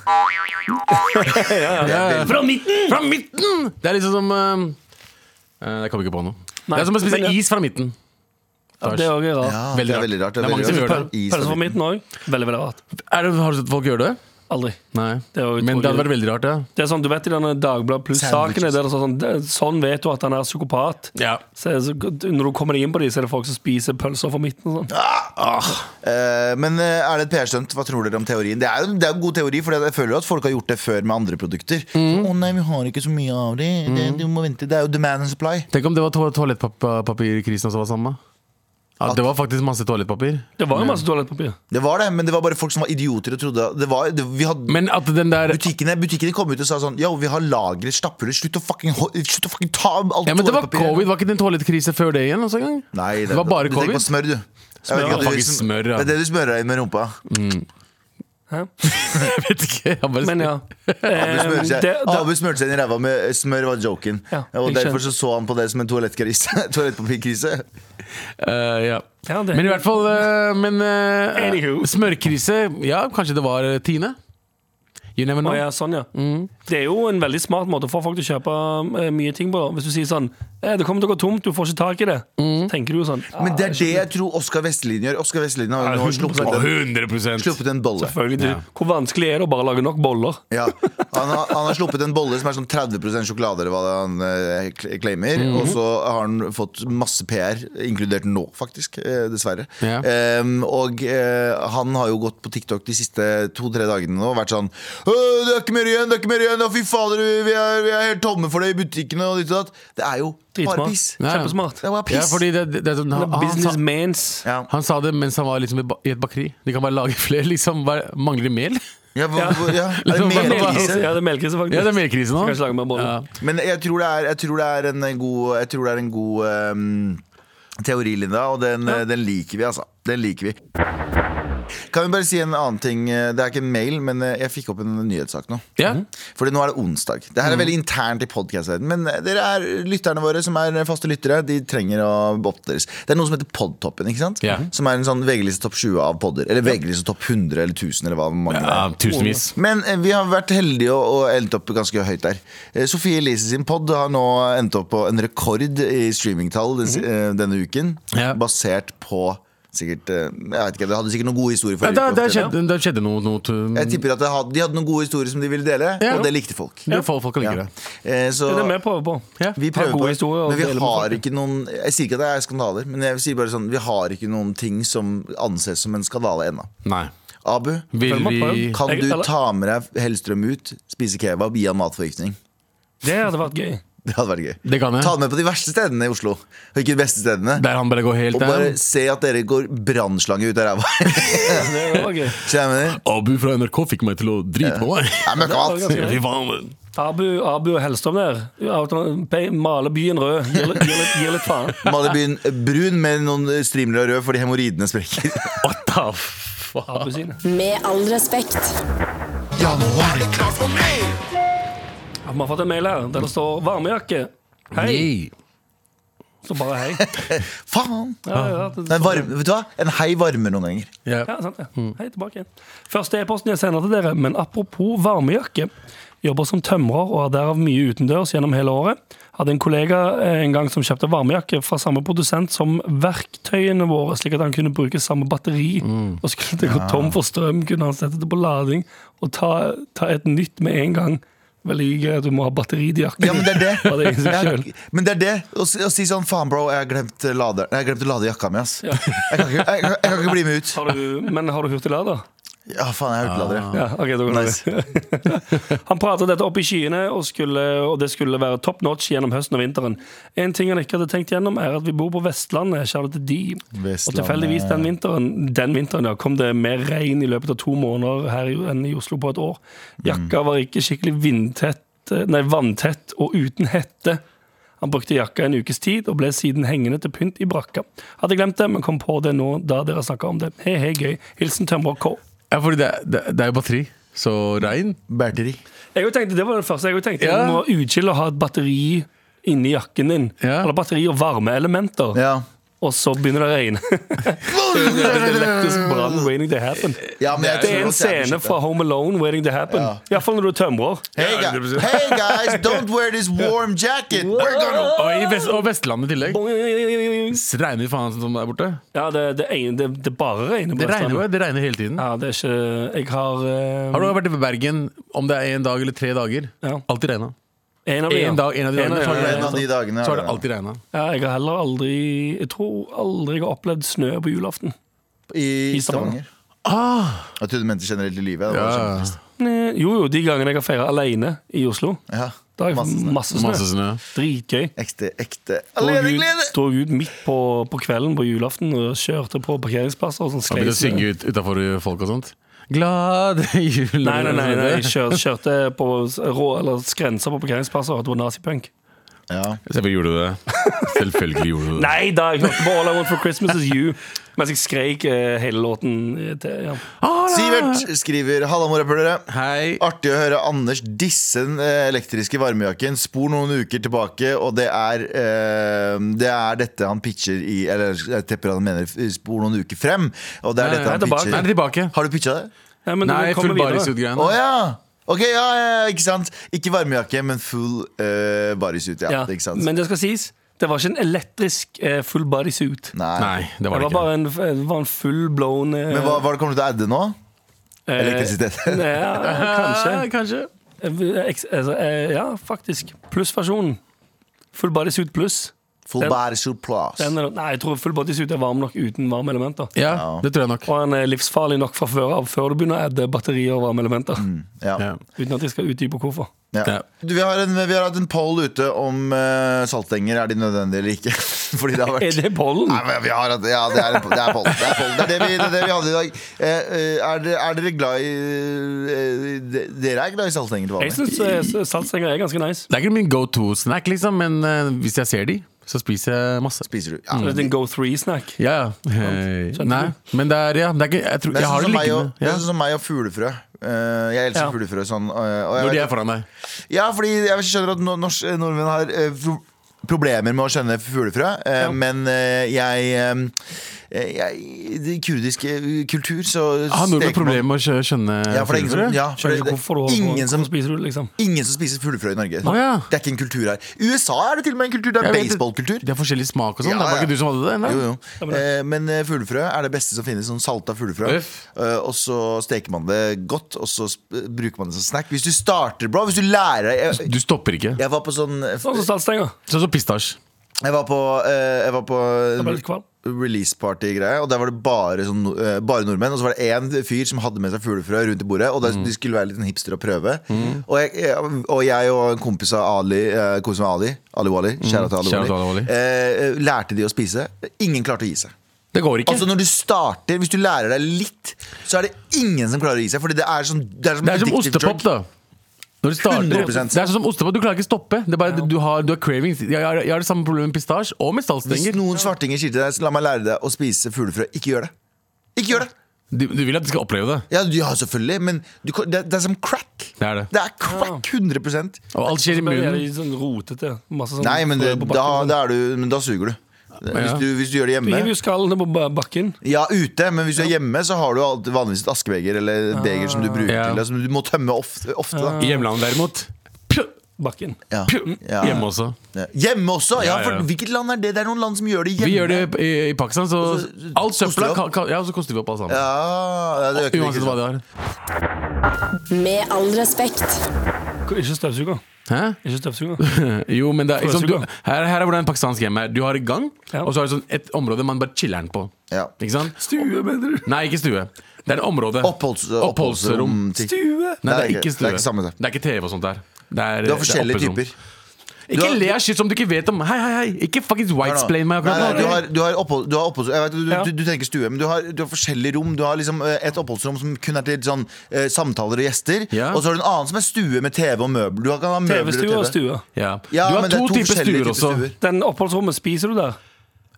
Speaker 3: Fra midten!
Speaker 5: Fra midten! Det er liksom som eh, eh, Jeg kommer ikke på noe.
Speaker 3: Nei,
Speaker 5: det er som å spise
Speaker 3: men ja.
Speaker 5: is fra midten.
Speaker 3: Ja, det er også rart.
Speaker 2: Ja, det
Speaker 5: Veldig
Speaker 2: er
Speaker 5: rart.
Speaker 2: veldig rart.
Speaker 5: Det er mange som gjør
Speaker 2: rart.
Speaker 5: det.
Speaker 2: Is
Speaker 3: Pølse
Speaker 2: fra
Speaker 3: fra
Speaker 2: midten.
Speaker 3: midten òg. Veldig, veldig rart.
Speaker 5: Er det, har du sett folk gjøre det?
Speaker 3: Aldri.
Speaker 5: Nei.
Speaker 3: Det er jo
Speaker 5: Men
Speaker 3: utrolig.
Speaker 5: det hadde vært veldig rart, ja.
Speaker 3: Det er sånn, Du vet i denne Dagbladet Pluss-sakene
Speaker 2: Sandwiches.
Speaker 3: der det står sånn, det, sånn vet du at han er psykopat.
Speaker 5: ja.
Speaker 3: Så, så, når du kommer inn på dem, så er det folk som spiser pølser fra midten. og sånn
Speaker 2: Eh, men eh, er det et PR-stunt? Hva tror dere om teorien? Det er jo det er jo god teori, for jeg føler jo at folk har gjort det før med andre produkter. Å
Speaker 5: Mm.
Speaker 2: nei, vi har ikke så mye av det. det du må vente. Det er jo demand and supply.
Speaker 5: Tenk om det var to toalettpapirkrisen også var samme. Ja, det var faktisk masse toalettpapir.
Speaker 3: Det var jo masse toalettpapir.
Speaker 2: Det var det, men det var bare folk som var idioter og trodde det var, det, vi hadde,
Speaker 5: Men at den der
Speaker 2: butikkene, butikkene kom ut og sa sånn Yo, vi har lagret stapphuller. Slutt å fucking, ho- slutt å fucking ta alt
Speaker 5: ja, men Det var
Speaker 2: toalettpapiret.»
Speaker 5: covid, var ikke det en toalettkrise før det igjen? Også en gang?
Speaker 2: Nei,
Speaker 5: det, var bare
Speaker 2: du tenker
Speaker 5: covid.
Speaker 2: på smør, du. Jeg vet
Speaker 3: Smør,
Speaker 2: ikke at du-
Speaker 5: faktisk smør, ja.
Speaker 2: Det er det du smører deg inn med rumpa.
Speaker 3: Hæ?
Speaker 5: Jeg vet ikke. Jeg bare,
Speaker 3: Men ja.
Speaker 2: Abu
Speaker 3: Eh,
Speaker 2: smørte seg,
Speaker 3: det,
Speaker 2: Abu
Speaker 3: da,
Speaker 2: smørte seg inn i ræva med smør, var joken.
Speaker 3: Ja,
Speaker 2: og
Speaker 3: jeg
Speaker 2: derfor
Speaker 3: skjønner.
Speaker 2: så, så han på det som en toalettkrise. toalettpapirkrise.
Speaker 5: Eh, ja.
Speaker 3: Ja, det-
Speaker 5: Men i hvert fall eh, men, eh,
Speaker 3: Anywho.
Speaker 5: Smørkrise, ja, kanskje det var eh, tiende? You never know.
Speaker 3: Å ja, sånn, ja. Det er jo en veldig smart måte å få folk til å kjøpe eh, mye ting på. da. Hvis du sier sånn eh, 'Det kommer til å gå tomt, du får ikke tak i det', så tenker du jo sånn.
Speaker 2: Men det er det jeg tror Oskar Vestlin gjør. Oskar Vestlin har jo nå sluppet
Speaker 5: Å,
Speaker 2: en,
Speaker 5: 100
Speaker 2: sluppet en bolle.
Speaker 3: Selvfølgelig, du, Hvor vanskelig er det å bare lage nok boller?
Speaker 2: Ja, han har, han har sluppet en bolle som er sånn 30 sjokolade, eller hva det er han eh, kl- claimer. Og så har han fått masse PR, inkludert nå, faktisk. eh, Dessverre.
Speaker 5: Ja.
Speaker 2: Ehm, og eh, han har jo gått på TikTok de siste to-tre dagene nå og vært sånn «Øh, 'Det er ikke mer igjen, det er ikke mer igjen! Å, fy fader, vi- vi er, vi er helt tomme for det i butikkene!' og ditt og datt. Det er jo bare
Speaker 3: Dritsmart.
Speaker 2: piss.
Speaker 5: Ja, ja.
Speaker 3: Kjempesmart.
Speaker 2: Det er bare
Speaker 5: Ja,
Speaker 2: piss.
Speaker 5: fordi det, det, det, er sånn-
Speaker 2: Ah,
Speaker 5: han, han, sa,
Speaker 3: Businessmans.
Speaker 2: Ja.
Speaker 5: han sa det mens han var liksom i ba- i et bakeri. De kan bare lage flere. Liksom, bare, mangler de mel?
Speaker 2: Ja, hva- hva- ja. Er det
Speaker 5: Liksom, hva-
Speaker 2: mer krise?
Speaker 5: hva-
Speaker 3: Melkrise. Ja, det er melkrise, faktisk.
Speaker 5: Ja, det er melkrise nå.
Speaker 3: Skal ikke lage mer boller.
Speaker 5: Ja.
Speaker 2: Men jeg tror det er, jeg tror det er en god, jeg tror det er en god ehm, teori, Linda, og den, den liker vi, altså. Den liker vi. Kan vi bare si en annen ting? Det er ikke en mail, men eh, jeg fikk opp en nyhetssak nå.
Speaker 5: Ja.
Speaker 2: Fordi nå er det onsdag. Det
Speaker 5: Mhm.
Speaker 2: her er veldig internt i podkastverdenen, men eh, dere er lytterne våre som er faste lyttere. De trenger å oppdateres. Det er noe som heter Podtoppen, ikke sant?
Speaker 5: Ja.
Speaker 2: Som er en sånn VG-liste topp 20 av podder. Eller VG-liste topp 100 eller 1000 eller hva mange det er.
Speaker 5: ja, tusenvis.
Speaker 2: Men eh, vi har vært heldige og, og endt opp ganske høyt der. Eh, Sofie Elise sin pod har nå endt opp på en rekord i streamingtall den,
Speaker 3: Mhm.
Speaker 2: eh, denne uken.
Speaker 5: Ja.
Speaker 2: Basert på sikkert eh, Jeg vet ikke, det hadde sikkert noen gode historier.
Speaker 5: Ja,
Speaker 2: forrige
Speaker 5: da,
Speaker 2: uke.
Speaker 5: da, skjedde, da skjedde noe, noe til-
Speaker 2: Jeg tipper at det hadde, de hadde noen gode historier som de ville dele,
Speaker 5: Ja.
Speaker 2: og det likte folk.
Speaker 5: Det får folk å like
Speaker 2: Ja.
Speaker 5: det.
Speaker 2: Eh, Så
Speaker 3: Det er det vi prøver på.
Speaker 5: Ja.
Speaker 2: vi prøver
Speaker 3: Ha gode
Speaker 2: på det.
Speaker 3: historier og
Speaker 2: Men vi
Speaker 3: dele med
Speaker 2: har
Speaker 3: folk.
Speaker 2: ikke noen Jeg sier ikke at det er skandaler, men jeg sier bare sånn vi har ikke noen ting som anses som en skandale ennå.
Speaker 5: Nei.
Speaker 2: Abu,
Speaker 5: Vil
Speaker 3: Følg med på
Speaker 5: vi
Speaker 3: den.
Speaker 2: kan
Speaker 3: Jeg-
Speaker 2: du
Speaker 3: eller-
Speaker 2: ta med deg Hellstrøm ut, spise kebab, gi han matforgiftning?
Speaker 3: Det hadde vært gøy.
Speaker 2: Det hadde vært gøy.
Speaker 5: Det kan jeg.
Speaker 2: Ta han med på de verste stedene i Oslo, og ikke de beste stedene.
Speaker 5: Der han bare går helt
Speaker 2: Og bare
Speaker 5: der.
Speaker 2: se at dere går brannslange ut av ræva.
Speaker 3: Det var gøy.
Speaker 2: Skjønner du hva jeg mener?
Speaker 5: Abu fra NRK fikk meg til å drite på meg.
Speaker 2: Det er møkkamat.
Speaker 3: Det var ganske
Speaker 5: Fy faen.
Speaker 3: Abu, Abu og Hellstrøm der. Auto- pe- Male byen rød. Gir litt, gir litt, gir litt faen.
Speaker 2: Maler byen brun med noen strimler av rød fordi hemoroidene sprekker.
Speaker 5: What the fuck?
Speaker 3: Abu sine.
Speaker 8: Med all respekt.
Speaker 7: Ja, nå er det klart for mer!
Speaker 3: Ja, Vi har fått en mail her der det står 'varmejakke'. Hei. Så bare hei.
Speaker 2: Faen!
Speaker 3: Ja, ja, det,
Speaker 2: Den varme, vet du hva? En hei varmer noen ganger.
Speaker 5: Ja.
Speaker 3: Ja, sant det.
Speaker 2: mm.
Speaker 3: Hei tilbake. Første e-posten jeg sender til dere, men apropos varmejakke. Jobber som tømrer og er derav mye utendørs gjennom hele året. Hadde en kollega eh, en gang som kjøpte varmejakke fra samme produsent som verktøyene våre, slik at han kunne bruke samme batteri.
Speaker 2: Mm.
Speaker 3: Og skulle det gå tom for strøm, kunne han sette det på lading og ta, ta et nytt med en gang. Veldig gøy at du må ha batteri til jakken.
Speaker 2: Ja, men det er det.
Speaker 3: Og det er ingen som selv.
Speaker 2: Ja, men det er det å, si- å si sånn Faen, bro, jeg har glemt, eh, lader- jeg har glemt å lade jakka mi, ass. Jeg, kan ikke, jeg, kan- jeg kan ikke bli med ut.
Speaker 3: Har du, men har du hurtiglader?
Speaker 2: Ja, faen, jeg har hurtiglader. jeg.
Speaker 3: Ja, ok, da går det. Han pratet dette opp i skyene, og, skulle, og det skulle være top notch gjennom høsten og vinteren. En ting han ikke hadde tenkt gjennom, er at vi bor på Vestlandet. Kjære til de. Og
Speaker 2: Vestlandet,
Speaker 3: tilfeldigvis den vinteren, den vinteren ja, kom det mer regn i løpet av to måneder her i- enn i Oslo på et år. Jakka var ikke skikkelig vindtett, eh, nei, vanntett og uten hette. Han brukte jakka en ukes tid, og ble siden hengende til pynt i brakka. Hadde glemt det, men kom på det nå da dere snakka om det. He he, gøy. Hilsen Tømrer K.
Speaker 5: Ja, fordi det, er- det, det er jo batteri. Så regn.
Speaker 2: Batteri.
Speaker 3: Jeg jo tenkte, Det var det første jeg jo tenkte.
Speaker 5: Ja.
Speaker 3: Du må utskille å ha et batteri inni jakken din.
Speaker 5: Ja.
Speaker 3: Eller batteri og varmeelementer.
Speaker 2: Ja.
Speaker 3: Og så begynner det å regne. det er en elektrisk brann waiting to happen.
Speaker 2: Ja, men jeg
Speaker 3: Det
Speaker 2: tror
Speaker 3: er
Speaker 2: at
Speaker 3: en
Speaker 2: jeg er
Speaker 3: scene
Speaker 2: beskyttet.
Speaker 3: fra Home Alone waiting to happen.
Speaker 2: Ja.
Speaker 3: I hvert Iallfall når du er tømrer.
Speaker 2: Hey, guys, hey guys, don't wear this warm jacket! We're gonna
Speaker 5: Og, i vest, og Vestlandet i tillegg. S- Regner det faen som det er borte?
Speaker 3: Ja, det, det, ene- det, det bare regner. på
Speaker 5: Det regner jo,
Speaker 3: Vestlandet.
Speaker 5: det regner hele tiden.
Speaker 3: Ja, det er ikke Jeg har eh,
Speaker 5: Har du vært i Bergen om det er en dag eller tre dager?
Speaker 3: Ja.
Speaker 5: Alltid regna.
Speaker 3: en av de, ja.
Speaker 5: En, dag, en av de dagene så har det
Speaker 2: En av
Speaker 5: regnet.
Speaker 2: de dagene.
Speaker 5: Så har
Speaker 2: er
Speaker 5: det alltid regna.
Speaker 3: ja, Jeg har heller aldri Jeg tror aldri jeg har opplevd snø på julaften.
Speaker 2: I
Speaker 3: I Stavanger.
Speaker 2: Stavanger. Jeg trodde du mente generelt i livet. Det var
Speaker 5: Ah! Ja.
Speaker 2: kjempetrist.
Speaker 3: Nei, Jo, jo, de gangene jeg har feira alene i Oslo.
Speaker 2: Ja.
Speaker 3: Da har jeg
Speaker 2: Masse snø.
Speaker 3: masse snø.
Speaker 5: Masse snø.
Speaker 3: Dritgøy.
Speaker 2: Ekte, ekte
Speaker 3: Dro
Speaker 2: aleneglede!
Speaker 3: ut, dro ut midt på, på kvelden på julaften og kjørte på parkeringsplasser. Og sånn
Speaker 5: Han begynte å
Speaker 3: sklei snø.
Speaker 5: synge ut utafor folk og sånt. Glade jul
Speaker 3: Nei, nei, nei, nei. jeg kjør, kjørte på rå, eller grensa på parkeringsplasser og det var nazipunk.
Speaker 2: Ja.
Speaker 5: Selvfølgelig gjorde du det. Selvfølgelig gjorde du det.
Speaker 3: Nei da! Jeg hørte på All I Want for Christmas Is You mens jeg skreik eh, hele låten. eh, Til, ja.
Speaker 2: Sivert skriver Halla, morapulere.
Speaker 5: Hei.
Speaker 2: Artig å høre Anders disse den eh, elektriske varmejakken. Spor noen uker tilbake, og det er, eh, det er dette han pitcher i Eller jeg tipper han mener f- spor noen uker frem. Og det er
Speaker 5: Nei,
Speaker 2: dette han
Speaker 3: nei, tilbake.
Speaker 5: Nei, det er
Speaker 2: pitcher.
Speaker 5: tilbake.
Speaker 2: Har du pitcha det?
Speaker 3: Nei, men
Speaker 5: Nei,
Speaker 3: det kommer
Speaker 5: full
Speaker 3: videre.
Speaker 2: Å
Speaker 5: bodysuit-greiene.
Speaker 2: ja! Ok, ja, ja, ja, ikke sant. Ikke varmejakke, men full uh, bodysuit. Ja.
Speaker 3: Ja.
Speaker 2: Ikke sant?
Speaker 3: Men det skal sies, det var ikke en elektrisk eh, full bodysuit. Det
Speaker 2: Nei.
Speaker 5: Nei, det
Speaker 3: var
Speaker 5: var det ikke.
Speaker 3: bare en, det var en full blown eh,
Speaker 2: Men hva, hva kommer du til å adde nå?
Speaker 3: eh,
Speaker 2: Elektrisitet.
Speaker 3: Ja, kanskje.
Speaker 5: Eh, kanskje.
Speaker 3: Eh, eks- altså, eh, Ja, faktisk. Plussversjonen. Full bodysuit pluss.
Speaker 2: Full
Speaker 3: den-
Speaker 2: bodysuit plus.
Speaker 3: Den er- Nei, jeg tror full bodysuit er varm nok uten varme elementer.
Speaker 5: Ja, det tror jeg nok.
Speaker 3: Og den er livsfarlig nok fra før av, før du begynner å adde batterier og varme elementer.
Speaker 2: Ja.
Speaker 5: Ja.
Speaker 3: Uten at jeg skal utdype hvorfor.
Speaker 2: Ja.
Speaker 5: Ja.
Speaker 2: Du, vi, har en, vi har hatt en poll ute om eh, saltstenger. Er de nødvendige eller ikke? Fordi det har
Speaker 3: Er
Speaker 2: vært
Speaker 3: det pollen?
Speaker 2: Nei, men vi har hatt, ja, det er, en- det er poll. Det er, poll. Det, er det, vi, det er det vi hadde i dag. Eh, eh, er, dere- er dere glad i eh, de- Dere er glad i saltstenger til
Speaker 3: Jeg
Speaker 2: vanlig?
Speaker 3: syns saltstenger er ganske nice.
Speaker 5: Det er ikke min go to-snack, liksom, men eh, hvis jeg ser de, så spiser jeg masse.
Speaker 2: Spiser du? Ja.
Speaker 3: Det er en go three-snack.
Speaker 5: Ja, ja. Eh, Nei, men det er, ja, det er ikke, jeg, tror,
Speaker 2: Det er
Speaker 5: jeg
Speaker 2: sånn
Speaker 5: har
Speaker 2: som
Speaker 5: det
Speaker 2: meg og-
Speaker 5: liggende.
Speaker 2: det er
Speaker 5: Ja.
Speaker 2: sånn som meg og fuglefrø. Eh, jeg elsker
Speaker 3: Ja.
Speaker 2: fuglefrø sånn. eh, og jeg
Speaker 5: Når de
Speaker 2: vet-
Speaker 5: er foran deg.
Speaker 2: Ja, fordi jeg skjønner at no- norsk, nordmenn har eh, pro problemer med å skjønne fuglefrø. eh, Men eh, jeg, eh, jeg I kurdisk eh, kultur så
Speaker 5: Har
Speaker 2: steker
Speaker 5: nordmenn
Speaker 2: man-
Speaker 5: problemer med å skjø- skjønne
Speaker 2: Ja, for det er ingen som,
Speaker 5: fuglefrø?
Speaker 2: ja, for
Speaker 3: Skjønner
Speaker 2: det,
Speaker 3: ikke hvorfor du
Speaker 2: det, ingen, som,
Speaker 3: hvorfor spiser du det, liksom.
Speaker 2: ingen som spiser fuglefrø i Norge.
Speaker 5: Å, ja.
Speaker 2: Det er ikke en kultur her. I USA er det til og med en kultur. Det
Speaker 5: Jeg
Speaker 2: er
Speaker 5: vet det.
Speaker 2: baseballkultur.
Speaker 5: Det er forskjellig smak og sånn.
Speaker 2: Ja,
Speaker 5: det er
Speaker 2: ja.
Speaker 5: bare ikke du som hadde det. Nei.
Speaker 2: Jo, jo. Eh, men eh, fuglefrø er det beste som finnes. Sånn salta fuglefrø.
Speaker 5: Uff.
Speaker 2: Eh, og så steker man det godt, og så sp- eh, bruker man det som snack. Hvis du starter bra, hvis du lærer deg jeg,
Speaker 5: Du stopper ikke.
Speaker 2: jeg var på sånn
Speaker 3: Sånn som saltstenger.
Speaker 5: Sånn som pistasje.
Speaker 2: Jeg var på, eh, jeg var på
Speaker 3: Jeg ble litt kvalm.
Speaker 2: release party-greie, og der var det bare, sånn, eh, bare nordmenn. Og så var det én fyr som hadde med seg fuglefrø rundt i bordet, og der,
Speaker 5: Mm.
Speaker 2: de skulle være litt en hipster og prøve. Og, jeg, jeg- og jeg og en kompis av Ali, eh, kompis av Ali, Ali Wali, kjære til Ali
Speaker 5: Mm. Kjære til Ali
Speaker 2: Wali,
Speaker 5: Wali.
Speaker 2: eh, lærte de å spise. Ingen klarte å gi seg.
Speaker 5: Det går ikke.
Speaker 2: Altså når du starter, Hvis du lærer deg litt, så er det ingen som klarer å gi seg. Fordi det er, sånn, det er,
Speaker 5: det er som
Speaker 2: addictive drug.
Speaker 5: ostepop, da. Når du starter,
Speaker 2: 100%.
Speaker 5: det er sånn som ostepop, Du klarer ikke stoppe. Det er bare, du, har, du har cravings. Jeg, har- jeg har det samme problemet med pistasje og med
Speaker 2: Hvis
Speaker 5: saltstenger.
Speaker 2: noen svartinger sier til deg så 'la meg lære deg å spise fuglefrø', ikke gjør det. Ikke gjør det!
Speaker 5: Du, du vil at de skal oppleve det.
Speaker 2: Ja, du- ja selvfølgelig, men du, kan- det, det er som crack.
Speaker 5: Det er det.
Speaker 2: Det er crack 100
Speaker 5: Og alt skjer i
Speaker 3: Det er
Speaker 5: munnen.
Speaker 3: litt sånn rotete. Masse sånn
Speaker 2: Nei, men, det,
Speaker 3: frø på
Speaker 2: da,
Speaker 3: bakken.
Speaker 2: da er du, men da suger du. Hvis du, hvis du gjør det
Speaker 3: Du hiver
Speaker 2: hjemme
Speaker 3: jo skallene på ba- bakken.
Speaker 2: Ja, ute, men hvis du er hjemme, så har du alt, vanligvis et askebeger eller et beger som du bruker
Speaker 5: Ja.
Speaker 2: til det, som du må tømme ofte. ofte da.
Speaker 5: I hjemlandet derimot pju,
Speaker 3: Bakken.
Speaker 2: Ja.
Speaker 5: pju,
Speaker 2: Ja.
Speaker 5: Hjemme også.
Speaker 2: Ja. Hjemme også! Ja,
Speaker 5: Ja,
Speaker 2: for
Speaker 5: ja.
Speaker 2: hvilket land er det? Det er noen land som gjør det hjemme.
Speaker 5: Vi gjør det i, i Pakistan, så
Speaker 2: så
Speaker 5: alt
Speaker 2: koster
Speaker 5: søpla
Speaker 2: det opp.
Speaker 5: ka- ka- Ja, så koster vi opp alt sammen.
Speaker 2: Altså, Ja, det øker
Speaker 5: Uansett hva de har.
Speaker 8: Med all respekt.
Speaker 3: Ikke støvsuger.
Speaker 5: Hæ?
Speaker 3: Ikke støvsuger.
Speaker 5: Jo, men det er, ikke sant,
Speaker 3: Støvsuger.
Speaker 5: du, her, her er hvordan en pakistansk hjem er. Du har gang,
Speaker 3: Ja.
Speaker 5: og så har du sånn et område man bare chiller den på.
Speaker 2: Ja.
Speaker 5: Ikke sant?
Speaker 3: Stue, mener du?
Speaker 5: Nei, ikke stue. Det er et område.
Speaker 2: Oppholds, oppholdsrom.
Speaker 5: Oppholdsrom.
Speaker 2: ting.
Speaker 3: Stue!
Speaker 5: Nei, det
Speaker 2: Nei,
Speaker 5: er ikke stue.
Speaker 2: det er ikke samme det.
Speaker 5: Det er ikke TV og sånt der. Det er,
Speaker 2: Du har
Speaker 5: det er
Speaker 2: forskjellige
Speaker 5: oppholdsrom.
Speaker 2: typer. Du
Speaker 5: Ikke
Speaker 2: har-
Speaker 5: le av shit som du ikke vet om. Hei, hei, hei! Ikke fuckings whitesplain meg
Speaker 2: Nei, nei,
Speaker 5: akkurat
Speaker 2: du
Speaker 5: nå.
Speaker 2: har, du har opphold, du har oppholds, jeg vet, du,
Speaker 3: Ja.
Speaker 2: du, du tenker stue, men du har, du har forskjellige rom. Du har liksom eh, et oppholdsrom som kun er til sånn, eh, samtaler og gjester.
Speaker 5: Ja.
Speaker 2: Og så har du en annen som er stue med TV og møbler. Du kan ha møbler
Speaker 3: TV-stue og
Speaker 2: og TV.
Speaker 3: stue.
Speaker 5: Ja.
Speaker 2: Ja,
Speaker 5: du har
Speaker 2: men det er
Speaker 5: to,
Speaker 2: to
Speaker 5: typer
Speaker 2: forskjellige
Speaker 5: stuer
Speaker 2: typer
Speaker 5: også.
Speaker 2: stuer.
Speaker 3: Den oppholdsrommet spiser du der.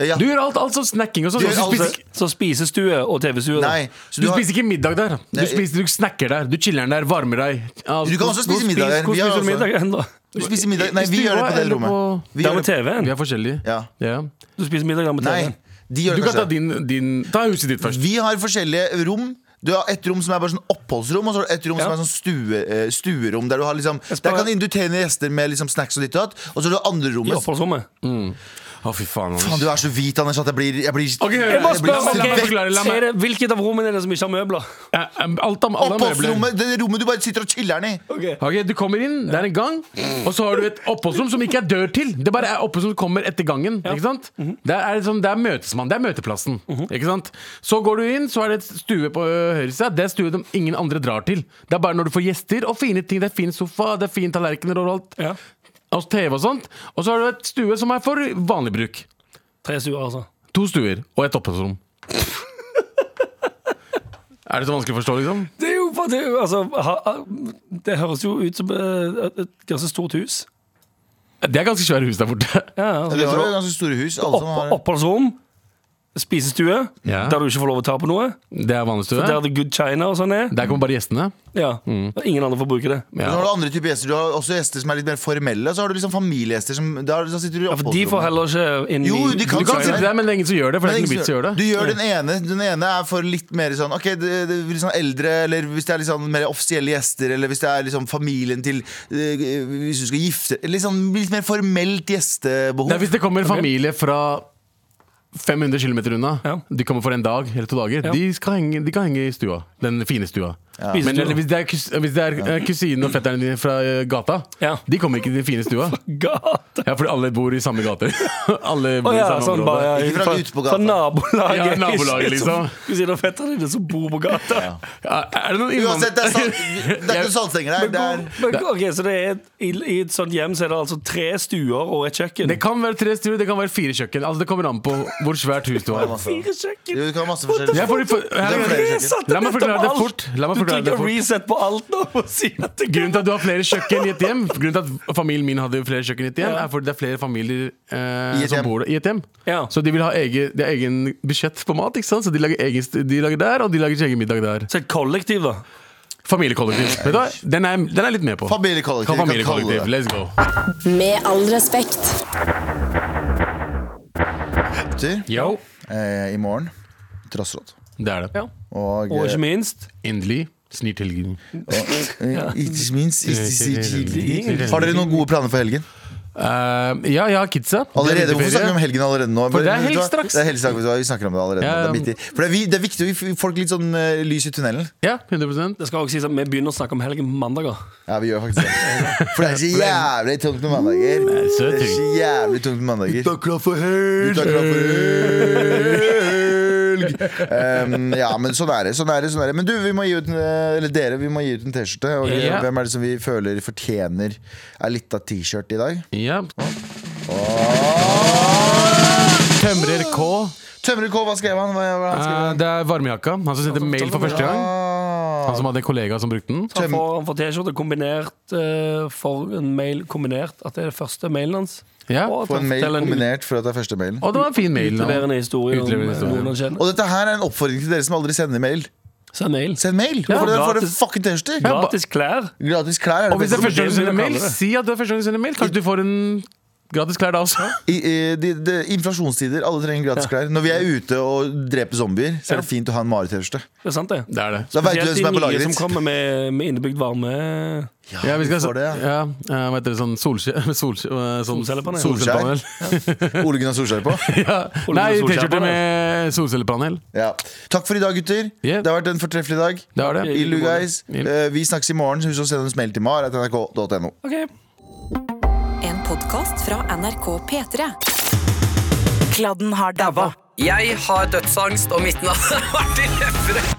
Speaker 2: Ja.
Speaker 5: Du gjør alt, alt sånn snacking og sånn.
Speaker 2: Du
Speaker 5: og
Speaker 2: gjør
Speaker 5: så
Speaker 2: alt
Speaker 5: spiser-
Speaker 2: det.
Speaker 3: Så spisestue og TV-stue. da.
Speaker 2: Nei, så
Speaker 5: Du
Speaker 2: har-
Speaker 5: spiser ikke middag der. Du,
Speaker 2: Nei,
Speaker 5: spiser, du snakker der, du chiller der, varmer deg. Ja,
Speaker 2: Du kan også spise middag der.
Speaker 3: Hvor
Speaker 2: Vi har altså-
Speaker 3: spiser
Speaker 2: også-
Speaker 3: du middag hen, da?
Speaker 2: du spiser middag Nei, vi gjør det på det
Speaker 5: Eller
Speaker 2: rommet.
Speaker 5: på-
Speaker 2: Vi
Speaker 3: Der
Speaker 2: gjør
Speaker 3: med
Speaker 2: det,
Speaker 5: Vi
Speaker 3: TV-en.
Speaker 5: er forskjellige.
Speaker 2: Ja.
Speaker 3: Du spiser middag der med
Speaker 2: nei,
Speaker 3: TV-en.
Speaker 2: de gjør
Speaker 5: Du
Speaker 2: det
Speaker 5: kan ta
Speaker 2: kanskje.
Speaker 5: din, din Ta huset ditt først.
Speaker 2: Vi har forskjellige rom. Du har et rom som er bare sånn oppholdsrom, og så har du et rom
Speaker 3: Ja.
Speaker 2: som er sånn stue, eh, stuerom. Der, du har liksom,
Speaker 3: Jeg skal-
Speaker 2: der kan du invitere gjester med liksom snacks og ditt og datt. Og så har du andre
Speaker 3: I
Speaker 2: rommet.
Speaker 3: oppholdsrommet.
Speaker 5: Å, fy faen. Anders.
Speaker 2: Faen, du er så hvit, Anders, at jeg blir, jeg blir
Speaker 5: Ok, jeg
Speaker 3: Jeg må
Speaker 5: Det blir
Speaker 3: spørre
Speaker 5: så
Speaker 3: ok,
Speaker 5: langt å forklare, la meg-
Speaker 3: er det- Hvilket av rommene er det som ikke har møbler?
Speaker 5: Eh, eh, Alt om alle møbler.
Speaker 2: Oppholdsrommet, det rommet du bare sitter og chiller'n i.
Speaker 5: Ok, Du kommer inn, det er en gang, og så har du et oppholdsrom som ikke er dør til. Det bare er oppholdsrom som kommer etter gangen. Ikke sant? Det er, sånn, det er møtesmann, det er møteplassen. Ikke sant? Så går du inn, så er det et stue på ø, høyre side. Det er stue de ingen andre drar til. Det er bare når du får gjester og fine ting. Det er fin sofa, det er fine tallerkener og alt.
Speaker 3: Ja.
Speaker 5: Og TV og sånt. Og så har du et stue som er for vanlig bruk.
Speaker 3: Tre stuer, altså.
Speaker 5: To stuer og et oppholdsrom. er det så vanskelig å forstå, liksom?
Speaker 3: Det er jo for det, er jo- altså, ha, ha- det høres jo ut som eh, et, et ganske stort hus.
Speaker 5: Det er ganske svære hus der borte.
Speaker 3: Ja,
Speaker 2: Det
Speaker 3: altså,
Speaker 2: var jo ganske store hus. Alle
Speaker 3: opp,
Speaker 2: som har
Speaker 3: oppholdsrom, spisestue,
Speaker 5: Ja.
Speaker 3: der du ikke får lov å ta på noe.
Speaker 5: Det er vanlig stue.
Speaker 3: Der The Good China og sånn er.
Speaker 5: Der kommer bare gjestene.
Speaker 3: Ja.
Speaker 5: Mm.
Speaker 3: Og Ingen andre får bruke det.
Speaker 2: Men så har du andre typer gjester. Du har også gjester som er litt mer formelle. Og så har du liksom familiegjester som da, da sitter du i
Speaker 3: Ja, for de
Speaker 2: oppholdsrommet.
Speaker 3: får heller ikke inn
Speaker 2: Jo,
Speaker 3: i
Speaker 2: de kan
Speaker 5: Du kan
Speaker 2: Sorry.
Speaker 5: sitte der, men det er ingen som gjør det.
Speaker 2: Men
Speaker 5: For det er
Speaker 2: ingen
Speaker 5: ikke noe vits i å gjøre
Speaker 2: som- Du
Speaker 5: det
Speaker 2: gjør den ene. Den ene er for litt mer sånn Ok, det, det, litt sånn eldre, eller hvis det er litt sånn mer offisielle gjester, eller hvis det er liksom familien til eh, Hvis du skal gifte Litt sånn litt mer formelt gjestebehov.
Speaker 5: Det er hvis det kommer en familie fra 500 km unna.
Speaker 3: Ja.
Speaker 5: De kommer for en dag eller to dager.
Speaker 3: Ja.
Speaker 5: De, skal henge, de kan henge i stua. Den fine stua. Men
Speaker 3: Spisestue.
Speaker 5: eller hvis det er, kus- hvis det er eh, kusinen og fetteren din fra eh, gata,
Speaker 3: Ja.
Speaker 5: de kommer ikke til den fine stua.
Speaker 3: gata.
Speaker 5: Ja, fordi alle bor i samme gater. alle
Speaker 3: Å
Speaker 5: bor
Speaker 3: ja,
Speaker 5: i samme
Speaker 3: sånn
Speaker 5: område.
Speaker 3: bare
Speaker 2: Ikke fra ute på gata.
Speaker 3: Fra nabolaget.
Speaker 5: Ja, nabolaget, liksom.
Speaker 3: Kusiner og fettere dine som bor på gata.
Speaker 5: Ja, er det noen innvandrere
Speaker 2: Uansett, det er, sal, det er ikke saltstenger her. Det er
Speaker 3: Men, ok, så det er, i, I et sånt hjem så er det altså tre stuer og et kjøkken.
Speaker 5: Det kan være tre stuer, det kan være fire kjøkken. Altså, Det kommer an på hvor svært hus du har.
Speaker 3: Fire kjøkken!
Speaker 2: Jo, du kan ha masse forskjellige
Speaker 5: Jeg får, for,
Speaker 2: Det er flere
Speaker 5: her,
Speaker 2: kjøkken.
Speaker 5: La meg forklare det fort. La meg
Speaker 3: Du
Speaker 5: forklare det
Speaker 3: trykker
Speaker 5: fort.
Speaker 3: reset på alt nå for å si at det
Speaker 5: Grunnen til at du har flere kjøkken i et hjem, Grunnen til at familien min hadde flere kjøkken i et hjem, er fordi det er flere familier eh,
Speaker 2: I et
Speaker 5: som
Speaker 2: hjem.
Speaker 5: bor der- i et hjem.
Speaker 3: Ja.
Speaker 5: Så de vil ha egen, de har egen budsjett på mat, ikke sant? så de lager, egen, st- de lager der, og de lager sin egen middag der.
Speaker 3: Så et kollektiv, da.
Speaker 5: Familiekollektiv. Vet du hva? Den er, den er jeg litt med på.
Speaker 2: Familiekollektiv.
Speaker 5: Ka-
Speaker 2: vi kan kalle
Speaker 5: Familiekollektiv.
Speaker 2: det det.
Speaker 5: Let's go.
Speaker 8: Med all respekt.
Speaker 2: Gutter,
Speaker 5: Yo.
Speaker 2: eh, I morgen trassråd.
Speaker 5: Det er det.
Speaker 2: Og,
Speaker 3: Og
Speaker 2: eh,
Speaker 3: ikke minst
Speaker 5: Endelig. Snir tilgivning.
Speaker 2: eh, ikke minst ikke minst- ikke minst- Har dere noen gode planer for helgen?
Speaker 5: Eh, ja, jeg har kidsa.
Speaker 2: Allerede,
Speaker 5: De er ute i
Speaker 2: hvorfor snakker vi om
Speaker 5: ferie.
Speaker 2: helgen allerede nå?
Speaker 5: For det er
Speaker 2: Vet du
Speaker 5: helg
Speaker 2: hva?
Speaker 5: straks.
Speaker 2: Det er helg straks, vet du hva? Vi snakker om det allerede
Speaker 5: Ja, ja.
Speaker 2: nå. Det er midt i. For det er, vi, det er viktig å gi folk litt sånn eh, lys i tunnelen.
Speaker 5: Ja, 100
Speaker 3: Det skal også sies at Vi begynner å snakke om helgen på mandager.
Speaker 2: Ja, vi gjør faktisk det. For det er så jævlig tungt med mandager.
Speaker 5: så
Speaker 2: Det er så
Speaker 5: tungt.
Speaker 2: jævlig tungt med mandager.
Speaker 5: klar for helg!
Speaker 2: Gutta klar for helg! Um, ja, men sånn er det. sånn er det, sånn er det Men du, vi må gi ut en, eh, eller dere, vi må gi ut en T-skjorte. Og
Speaker 5: Ja.
Speaker 2: hvem er det som vi føler fortjener ei lita T-skjorte i dag?
Speaker 5: Ja. Tømrer K.
Speaker 2: Tømrer K, hva skrev han? Hva, hva han skrev
Speaker 5: Eh, det er varmejakka. Han som sendte mail for første gang. Han
Speaker 2: Ah,
Speaker 5: som hadde en kollega som brukte den.
Speaker 3: Han får, han får T-skjorte kombinert eh, for en mail kombinert. At det er det første mailen hans.
Speaker 5: Ja.
Speaker 3: Og at
Speaker 2: På
Speaker 3: han
Speaker 2: en mail
Speaker 3: forteller
Speaker 2: kombinert for at det er første mailen.
Speaker 5: Og det var en fin mail. da.
Speaker 3: Utleverende historie om
Speaker 5: Utleverende historie.
Speaker 3: noen han kjenner.
Speaker 2: Og dette her er en oppfordring til dere som aldri sender mail.
Speaker 3: Send mail.
Speaker 2: Send mail! Ja, for dere får dere
Speaker 3: gratis.
Speaker 2: fucking T-skjorter!
Speaker 3: Gratis klær.
Speaker 2: Gratis klær. Er
Speaker 5: Og
Speaker 2: det
Speaker 5: hvis det er
Speaker 2: beste.
Speaker 5: første gang du sender
Speaker 3: Det er
Speaker 5: mail,
Speaker 3: kaldere.
Speaker 5: si at du er første gang du sender mail. Kanskje du får en gratis klær da også.
Speaker 2: I, i, de, de, inflasjonstider. Alle trenger gratis klær. Når vi er ute og dreper zombier, så er det fint å ha en Mari-T-skjorte.
Speaker 3: Det er sant, det.
Speaker 5: Det er det.
Speaker 2: Da vet du hvem
Speaker 3: Spesielt
Speaker 2: som er på
Speaker 3: de nye
Speaker 2: laget
Speaker 3: som
Speaker 2: ditt.
Speaker 3: kommer med, med innebygd varme.
Speaker 5: Ja, vi skal,
Speaker 2: vi får det,
Speaker 5: ja. eh, hva heter det, sånn solskje... solskje eh, sånn
Speaker 3: Solcellepanel.
Speaker 5: solcellepanel.
Speaker 2: Ole Gunnar Solskjær på.
Speaker 5: ja.
Speaker 3: Ole
Speaker 5: Nei,
Speaker 3: med solskjerm på
Speaker 5: T-skjorte
Speaker 3: det.
Speaker 5: med solcellepanel.
Speaker 2: Ja. Takk for i dag, gutter.
Speaker 5: Yeah.
Speaker 2: Det har vært en fortreffelig dag.
Speaker 5: Det er det.
Speaker 2: Illu, guys.
Speaker 5: Ill.
Speaker 2: Eh, Vi snakkes i morgen. så Husk å sende oss mail til mar.nrk.no.
Speaker 3: Ok.
Speaker 9: En podkast fra NRK P3. Kladden har dabba.
Speaker 10: Jeg har dødsangst, og mitt navn er Martin Lepperød.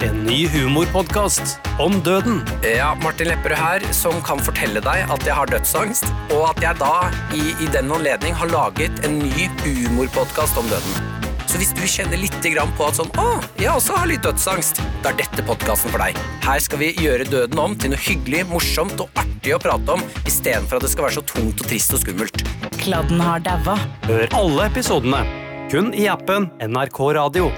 Speaker 11: En ny humorpodkast om døden.
Speaker 10: Ja, Martin Lepperød her, som kan fortelle deg at jeg har dødsangst, og at jeg da, i, i den anledning, har laget en ny humorpodkast om døden. Så hvis du kjenner litt grann på at sånn, å, jeg også har litt dødsangst, da er dette podkasten for deg. Her skal vi gjøre døden om til noe hyggelig, morsomt og artig å prate om, istedenfor at det skal være så tungt og trist og skummelt.
Speaker 9: Kladden har dabba.
Speaker 11: Hør alle episodene kun i appen NRK Radio.